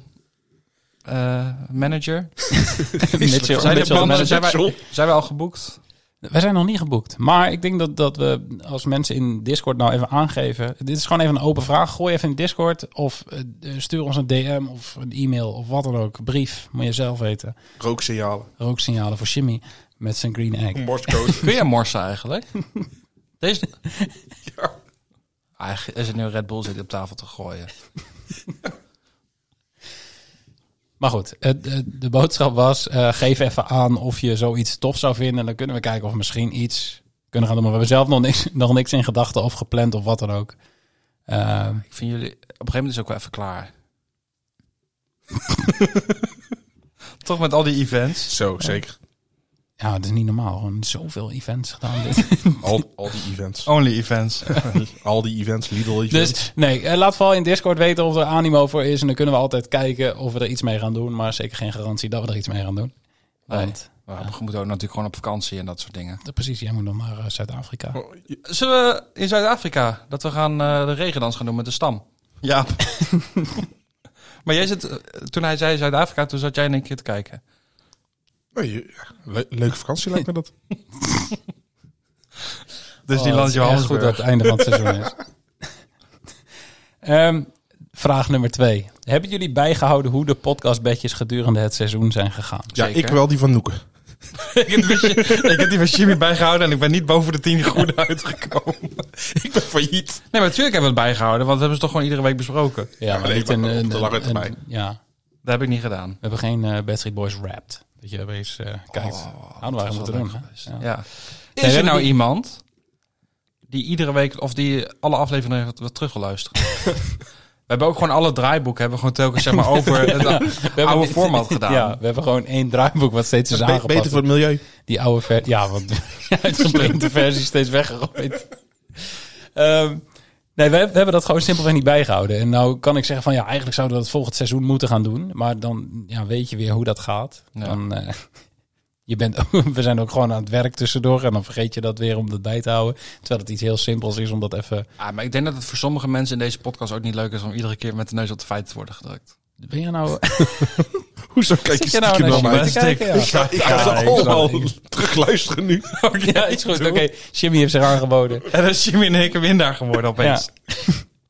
S7: eh, [LAUGHS] manager.
S1: Mitchell,
S7: Zijn, de
S1: Mitchell,
S7: plannen- zijn,
S1: manager.
S7: wij, zijn wij al geboekt?
S1: Wij zijn nog niet geboekt. Maar ik denk dat, dat we, als mensen in Discord nou even aangeven. Dit is gewoon even een open vraag. Gooi even in Discord. Of eh, stuur ons een DM of een e-mail of wat dan ook. Brief, moet je zelf weten.
S6: Rooksignalen.
S1: Rooksignalen voor Jimmy met zijn green egg.
S6: Morscoach.
S7: Kun jij morsen [LAUGHS] eigenlijk? Deze... Eigenlijk is het nu Red Bull zit op tafel te gooien.
S1: Maar goed, het- het- de boodschap was: eh, geef even aan of je zoiets tof zou vinden. En dan kunnen we kijken of we misschien iets kunnen gaan doen. Maar we hebben zelf nog niks, [LAUGHS] nog niks in gedachten of gepland of wat dan ook. Ehm,
S7: Ik vind jullie... Op een gegeven moment is het ook wel even klaar. [LAUGHS] Toch met al die
S6: [LAUGHS]
S7: events.
S6: Zo, zeker.
S1: ja, het is niet normaal. Gewoon zoveel events gedaan. Dit.
S6: Al, al die events.
S7: Only events.
S6: [LAUGHS] Al die events, Lidl events.
S1: Oh. Dus nee, eh, laat vooral in Discord weten of er animo voor is. En dan kunnen we altijd kijken of we er iets mee gaan doen. Maar zeker geen garantie dat we er iets mee gaan doen.
S7: Nee.
S1: Want,
S7: Maar we moeten ook natuurlijk gewoon op vakantie en dat soort dingen.
S1: eh, precies, jij moet nog naar eh, Zuid-Afrika.
S6: Oh,
S7: Zullen we in Zuid-Afrika dat we gaan eh, de regendans gaan doen met de stam? Ja. [LAUGHS] maar jij zit, eh, toen hij zei Zuid-Afrika, toen zat jij in een keer te kijken.
S6: Nou, je- ja, le- leuke vakantie lijkt me
S1: [LAUGHS]
S6: dat.
S7: Dus
S1: Oh,
S7: die
S1: dat
S7: land
S1: is erg goed dat
S7: Johannesburg.
S1: het einde van het seizoen
S7: [LAUGHS]
S1: is. Ehm, vraag nummer twee. Hebben jullie bijgehouden hoe de podcastbedjes gedurende het seizoen zijn gegaan?
S6: Ja,
S7: Zeker.
S6: ik wel die van Noeken.
S7: ik, heb die van- ik heb die van Jimmy bijgehouden en ik ben niet boven de tien [LAUGHS] goed uitgekomen.
S6: Ik ben failliet.
S7: Nee, maar natuurlijk hebben we het bijgehouden, want dat hebben ze toch gewoon iedere week besproken.
S1: Ja,
S6: maar nee, maar op de lange
S1: een-
S6: termijn.
S1: ja,
S7: Dat heb ik niet gedaan.
S1: we hebben geen eh Bad Street Boys Wrapped. Dat je opeens eh kijkt. Hadden we
S7: Oh, Dat
S1: eigenlijk
S7: was
S1: moeten
S7: wel
S1: doen.
S7: leuk
S1: hè?
S7: geweest.
S1: Ja.
S7: Ja. Is er
S1: er
S7: nou
S1: die-
S7: iemand die iedere week of die alle afleveringen wat, wat terug wil [LAUGHS] luisteren? We hebben ook gewoon alle draaiboeken hebben we gewoon telkens [LAUGHS] zeg maar over het oude
S1: dit-
S7: format gedaan.
S1: Ja, we hebben gewoon één draaiboek wat steeds is
S6: Be-
S1: aangepast.
S6: beter voor het milieu.
S1: Die oude ver [LAUGHS] ja, want de uitgeprinte versie is steeds weggegooid. Ehm, nee, we, we hebben dat gewoon simpelweg niet bijgehouden. En nou kan ik zeggen van ja, eigenlijk zouden we dat volgend seizoen moeten gaan doen. Maar dan ja, weet je weer hoe dat gaat.
S7: Ja.
S1: Dan, eh, [LAUGHS] je bent, ook- [LAUGHS] we zijn ook gewoon aan het werk tussendoor. En dan vergeet je dat weer om dat bij te houden. Terwijl het iets heel simpels is om dat even...
S7: Ah, maar ik denk dat het voor sommige mensen in deze podcast ook niet leuk is om iedere keer met de neus op de feiten te worden gedrukt.
S1: Ben je nou...
S6: Hoezo kijk je
S1: [LAUGHS] Zit je nou
S6: stiekem
S1: naar
S6: naar
S1: je
S6: mij?
S1: te kijken? Ja.
S6: Ik ga, ik ga
S1: Ja, ik
S6: ze allemaal terugluisteren nu.
S1: [LAUGHS] ja, is goed. Oké, Jimmy heeft zich aangeboden.
S7: [LAUGHS] En dan is Jimmy in één keer winnaar geworden opeens.
S1: Ja.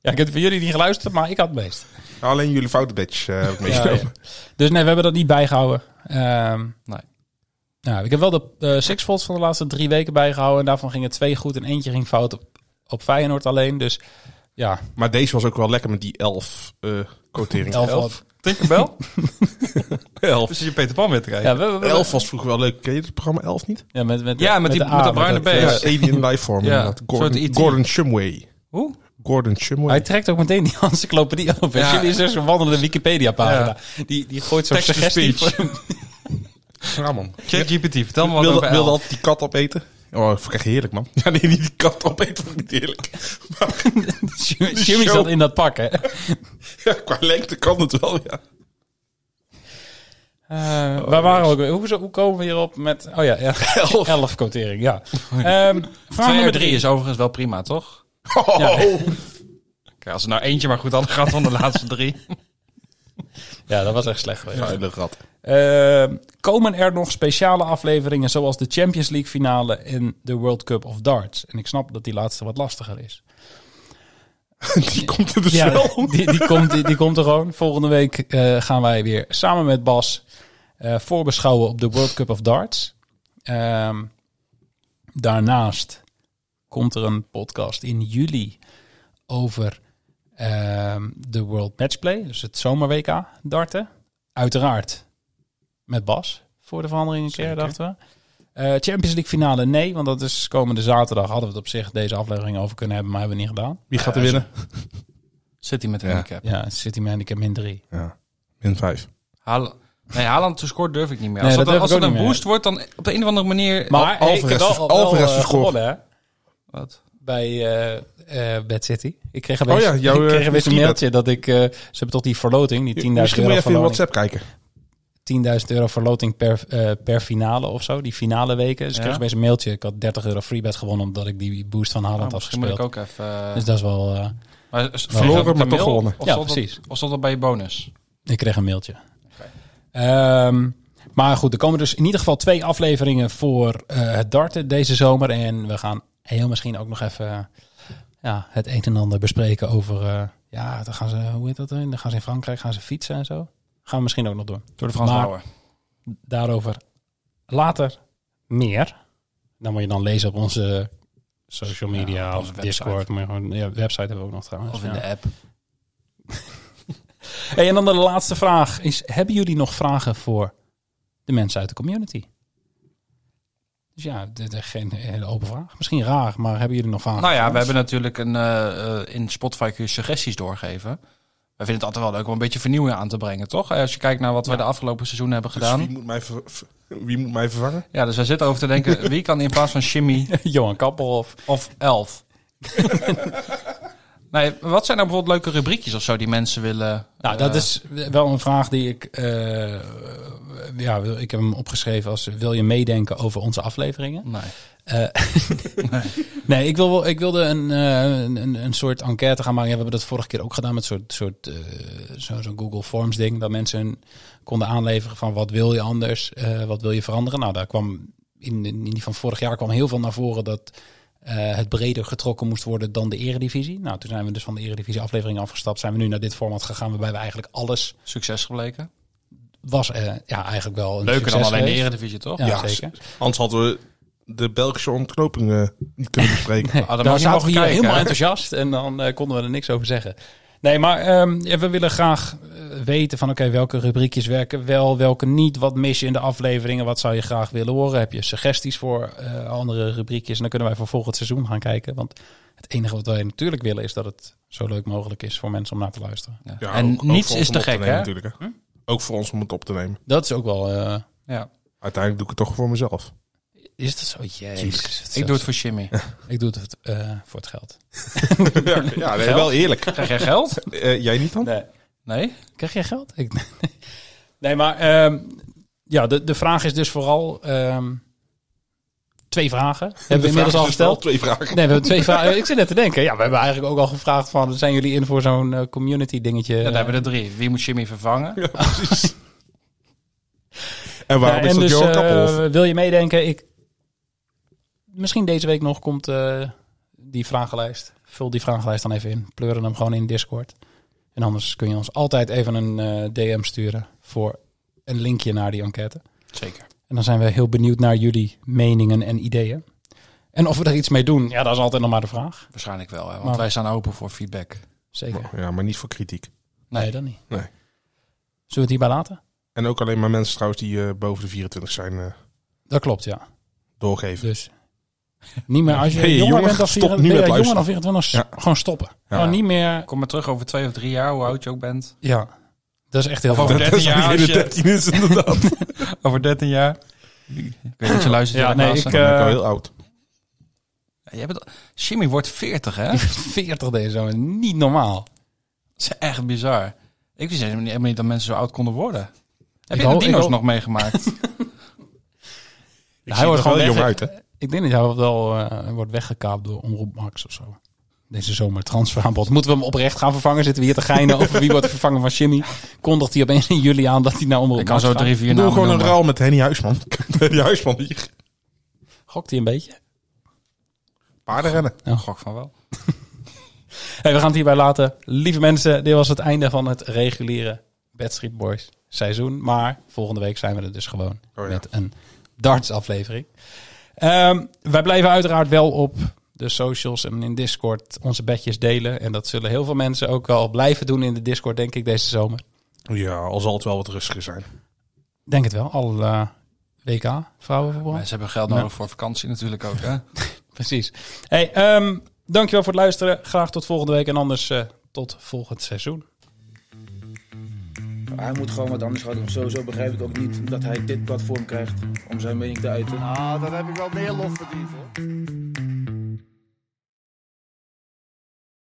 S1: Ja, ik heb voor jullie niet geluisterd, maar ik had het meest.
S6: Alleen jullie foute badge eh, heb ik
S1: Ja,
S6: meegenomen.
S1: ja. Dus nee, we hebben dat niet bijgehouden. Ehm,
S7: Nee.
S1: Nou, ik heb wel de eh six volts van de laatste drie weken bijgehouden. En daarvan gingen twee goed en eentje ging fout op, op Feyenoord alleen. Dus ja,
S6: Maar deze was ook wel lekker met die elf eh quotering.
S1: elf.
S7: Elf.
S2: [LAUGHS]
S7: Tinkerbell?
S6: Elf.
S7: Dus je Peter Pan weer te kijken.
S1: Ja, we, we- we-
S6: Elf was vroeger wel leuk. Ken je het programma Elf niet?
S1: ja, met, met,
S7: Ja, met die-
S1: de A,
S7: met dat bruine
S1: dat,
S7: beest.
S1: eh,
S6: Ja, E Alien Lifeform.
S7: Ja,
S6: inderdaad.
S7: soort
S6: Gordon,
S7: E.T..
S6: Gordon Shumway.
S7: Hoe?
S6: Gordon
S1: Hij
S6: Shumway.
S1: trekt ook meteen die [LAUGHS] encyclopedie op.
S7: Ja.
S1: Jullie is er zo'n wandelende Wikipedia-pagina. Die, die gooit zo'n
S7: Text to
S1: suggestie.
S7: speech. [LAUGHS]
S1: voor-
S6: Ja, man.
S7: ChatGPT, vertel me wat
S6: Wilde,
S7: over
S6: wilde
S7: elf.
S6: altijd die kat opeten. Oh, dat vond ik echt heerlijk, man. Ja, nee, niet die kat opeten vond ik niet heerlijk.
S7: [LAUGHS]
S6: Maar
S1: Jimmy
S6: show.
S1: zat in dat pak, hè?
S6: [LAUGHS] ja, qua lengte kan het wel, ja.
S1: Eh,
S7: Oh,
S1: waar waren we ook weer? Hoe, hoe komen we hierop met... Oh ja, ja.
S7: [LAUGHS]
S1: Elf. quotering, ja. Ehm vraag
S7: Twee
S1: nummer drie
S7: uit drie
S1: is...
S7: is overigens wel prima, toch?
S6: Oh,
S7: Kijk, als er nou eentje maar goed hadden gehad van de laatste drie.
S1: Ja, dat was echt slecht geweest.
S6: vuile rat.
S1: Ehm, komen er nog speciale afleveringen zoals de Champions League finale en de World Cup of Darts? En ik snap dat die laatste wat lastiger is.
S6: [LAUGHS] Die komt er dus wel.
S1: die, die, komt, die, die komt er gewoon. Volgende week eh, gaan wij weer samen met Bas eh, voorbeschouwen op de World Cup of Darts. Ehm, daarnaast komt er een podcast in juli over ehm, de World Matchplay, dus het zomer WK darten. Uiteraard met Bas voor de verandering een keer, dachten we. Eh, Champions League finale, nee, want dat is komende zaterdag. Hadden we het op zich deze aflevering over kunnen hebben, maar hebben we niet gedaan.
S6: Wie gaat er winnen?
S7: Zit hij met een
S6: Ja.
S7: handicap.
S1: Ja, City Man, ik heb min drie.
S6: Ja, min vijf.
S7: Haal- nee, Haaland te scoren durf ik niet meer.
S1: Nee,
S7: Als
S1: dat
S7: dat,
S1: durf
S7: als
S1: ik
S7: dat
S1: ook
S7: een
S1: niet meer.
S7: boost wordt, dan op de een of andere manier... Oh,
S1: Maar
S6: Eh, Al-
S1: ik heb
S6: Alvarez
S1: wel,
S6: is-
S1: wel,
S6: Alvarez
S1: eh,
S6: is gescoord.
S1: gewonnen, hè,
S7: Wat?
S1: bij eh eh Bad City. Ik kreeg opeens,
S6: Oh ja,
S1: [LAUGHS]
S6: jouw,
S1: ik kreeg
S6: eh,
S1: opeens een
S6: free
S1: mailtje dat ik... eh, ze hebben toch die verloting, die 10.000 euro
S6: Misschien moet je even in
S1: verloting.
S6: WhatsApp kijken. Dus
S1: 10.000 euro verloting per, eh, per finale of zo, die finale weken. Dus ik kreeg
S7: Ja.
S1: opeens een mailtje. Ik had 30 euro freebet gewonnen omdat ik die boost van Haaland
S7: Oh,
S1: had
S7: misschien moet
S1: afgespeeld.
S7: ik ook even... eh,
S1: Dus dat is wel... eh,
S7: maar is-
S1: Verloren,
S7: is dat op de
S6: maar toch
S7: mail?
S6: gewonnen.
S7: Of
S1: Ja,
S7: stond dat-
S1: precies.
S7: Of stond dat bij je bonus?
S1: Ik kreeg een mailtje. Ehm, maar goed, er komen dus in ieder geval twee afleveringen voor eh, het darten deze zomer. En we gaan heel misschien ook nog even eh, ja, het een en ander bespreken over... eh, ja, dan gaan ze, hoe heet dat? eh, Dan gaan ze in Frankrijk gaan ze fietsen en zo. Gaan we misschien ook nog doen.
S7: Door de Frans
S1: Maar-
S7: Bauer.
S1: Daarover later meer. Dan moet je dan lezen op onze social
S7: Ja,
S1: media
S7: op
S1: of
S7: onze website.
S1: Discord. Moet je gewoon, ja, website hebben we ook nog trouwens.
S7: Of in
S1: ja.
S7: de app.
S1: Hey, en dan de laatste vraag is: hebben jullie nog vragen voor de mensen uit de community? Dus ja, dit is geen hele open vraag. Misschien raar, maar hebben jullie nog vragen?
S7: Nou ja,
S1: voor
S7: we
S1: ons?
S7: hebben natuurlijk een, eh, eh, in Spotify kun je suggesties doorgeven. We vinden het altijd wel leuk om een beetje vernieuwing aan te brengen, toch? Eh, Als je kijkt naar wat we de afgelopen seizoenen hebben gedaan.
S6: Dus wie moet mij, ver- ver- wie moet mij vervangen?
S7: Ja, dus wij zitten over te [LAUGHS] denken, wie kan in plaats van Jimmy
S1: [LAUGHS]
S7: [LAUGHS]
S1: Johan Kappel of.
S7: of Elf? nee, wat zijn nou bijvoorbeeld leuke rubriekjes of zo die mensen willen...
S1: Nou,
S7: eh,
S1: dat is wel een vraag die ik. eh, ja, wil- ik heb hem opgeschreven als: wil je meedenken over onze afleveringen?
S7: Nee.
S1: Nee, ik, wil, wel- ik wilde een, eh, een, een- een soort enquête gaan maken. Ja, we hebben dat vorige keer ook gedaan met soort, soort, eh, zo- zo'n Google Forms ding. Dat mensen hun konden aanleveren van wat wil je anders, eh, wat wil je veranderen. Nou, daar kwam in, in die van vorig jaar kwam heel veel naar voren dat eh, het breder getrokken moest worden dan de eredivisie. Nou, toen zijn we dus van de eredivisie aflevering afgestapt. Zijn we nu naar dit format gegaan waarbij we eigenlijk alles
S7: Succes gebleken.
S1: was eh, ja, eigenlijk wel een
S7: Leuker dan
S1: succes
S7: alleen de
S1: geweest.
S7: Eredivisie, toch?
S1: Ja,
S6: Ja,
S1: zeker.
S6: Anders hadden we de Belgische ontknoping eh, niet kunnen bespreken. [LAUGHS]
S1: Nee,
S7: Ah, dan
S1: daar
S7: mag je
S1: zaten
S7: mogen
S1: we hier
S7: kijken,
S1: helemaal
S7: hè?
S1: enthousiast en dan eh, konden we er niks over zeggen. Nee, maar ehm, ja, we willen graag eh, weten van oké, welke rubriekjes werken wel, welke niet. Wat mis je in de afleveringen? Wat zou je graag willen horen? Heb je suggesties voor eh, andere rubriekjes? En dan kunnen wij voor volgend seizoen gaan kijken. Want het enige wat wij natuurlijk willen is dat het zo leuk mogelijk is voor mensen om naar te luisteren.
S7: Ja.
S6: Ja,
S7: en
S6: ook- ook
S7: niets
S6: voor
S7: is
S6: ons
S7: te
S6: om op
S7: gek,
S6: nemen
S7: hè? Hm?
S6: natuurlijk, hè? Ook voor ons om het op te nemen.
S1: Dat is ook wel... eh,
S7: Ja.
S6: Uiteindelijk doe ik het toch voor mezelf.
S1: is dat zo? Jezus.
S7: Ik doe het voor Jimmy.
S1: ik doe het eh, voor het geld.
S6: ja,
S7: [LAUGHS]
S6: ja nee, wel eerlijk.
S7: Krijg jij geld?
S6: Eh, jij niet dan?
S1: Nee.
S7: Nee?
S1: Krijg jij geld? Ik, nee, maar ehm, ja, de, de vraag is dus vooral ehm, twee vragen. Hebben we
S6: De vraag
S1: inmiddels al
S6: is dus wel
S1: gesteld?
S6: Twee vragen.
S1: Nee, we hebben twee vragen. Ik zit net te denken. Ja, we hebben eigenlijk ook al gevraagd van, zijn jullie in voor zo'n eh, community dingetje?
S7: Ja, nou, dan hebben we er drie. Wie moet Jimmy vervangen?
S6: En waarom
S1: Ja,
S6: is
S1: en
S6: dat
S1: dus,
S6: Johan
S1: eh,
S6: Kappelhoff?
S1: wil je meedenken? Ik... Misschien deze week nog komt eh, die vragenlijst. Vul die vragenlijst dan even in. Pleuren hem gewoon in Discord. En anders kun je ons altijd even een eh, DM sturen voor een linkje naar die enquête.
S7: Zeker.
S1: En dan zijn we heel benieuwd naar jullie meningen en ideeën. En of we er iets mee doen, ja, dat is altijd nog maar de vraag.
S7: Waarschijnlijk wel, hè? want
S1: Maar-
S7: wij staan open voor feedback.
S1: Zeker. Nee,
S6: Ja, maar niet voor kritiek.
S1: dan niet.
S6: Nee.
S1: Zullen we het hierbij laten?
S6: En ook alleen maar mensen trouwens die eh, boven de 24 zijn eh,
S1: Dat klopt, ja.
S6: doorgeven.
S1: Dus niet meer als je
S6: Hey,
S1: jonger
S6: jongen,
S1: bent dan
S6: stop nu
S1: 24, ben
S6: met
S1: je jonger dan
S6: luisteren.
S1: 24, s-
S6: Ja.
S1: gewoon stoppen.
S6: Ja.
S1: Gewoon Oh, niet meer.
S7: Kom maar terug over twee of drie jaar, hoe oud je ook bent.
S1: Ja, dat is echt heel
S7: over
S1: goed.
S6: Dat
S7: 13
S6: is
S7: jaar
S1: [LAUGHS]
S6: degene
S7: als je-
S6: 13 is inderdaad.
S7: [LAUGHS] Over 13 jaar. Ik weet dat je luistert.
S1: Ja,
S7: Dirk
S1: nee,
S7: Maassen.
S1: ik, eh,
S6: Ik ben heel oud.
S7: Ja, jij bent al- Jimmy wordt 40, hè? Dat
S1: 40 deze zomer, niet normaal.
S7: is echt bizar. Ik wist helemaal niet- helemaal niet dat mensen zo oud konden worden. Heb je
S1: hoop-
S7: de
S1: ik
S7: dino's
S1: hoop-
S7: nog [LAUGHS] meegemaakt?
S1: Hij
S6: Hij wordt gewoon jong
S1: weg-
S6: uit, hè?
S1: Ik denk dat hij wel eh, wordt weggekaapt door Omroep Max of zo. Deze zomer transferaanbod. Moeten we hem oprecht gaan vervangen? Zitten we hier te geinen over wie wordt vervangen van Jimmy? Kondigt hij opeens in juli aan dat hij naar Omroep
S7: Ik kan
S1: Max
S7: zo
S1: gaat?
S7: drie, vier
S6: Doe
S7: namen
S6: gewoon een
S7: noemen.
S6: ruil met Henny Huisman. [LAUGHS] Henny Huisman hier.
S1: Gokt hij een beetje?
S6: Paardenrennen.
S7: Gok van wel.
S1: Hey, we gaan het hierbij laten. Lieve mensen, dit was het einde van het reguliere Bad Street Boys seizoen. Maar volgende week zijn we er dus gewoon
S6: Oh ja.
S1: met een darts aflevering. Ehm, wij blijven uiteraard wel op de socials en in Discord onze bedjes delen. En dat zullen heel veel mensen ook al blijven doen in de Discord, denk ik, deze zomer.
S6: Ja, al zal het wel wat rustiger zijn.
S1: Denk het wel, al eh, WK, vrouwenvoetbal.
S7: Mensen hebben geld nodig voor vakantie natuurlijk ook, hè?
S1: Precies. Hey, ehm, dankjewel voor het luisteren. Graag tot volgende week en anders eh, tot volgend seizoen.
S5: Hij moet gewoon wat anders gaan doen. Sowieso begrijp ik ook niet dat hij dit platform krijgt om zijn mening te uiten.
S9: Ah, dat heb ik wel meer lof verdiend hoor.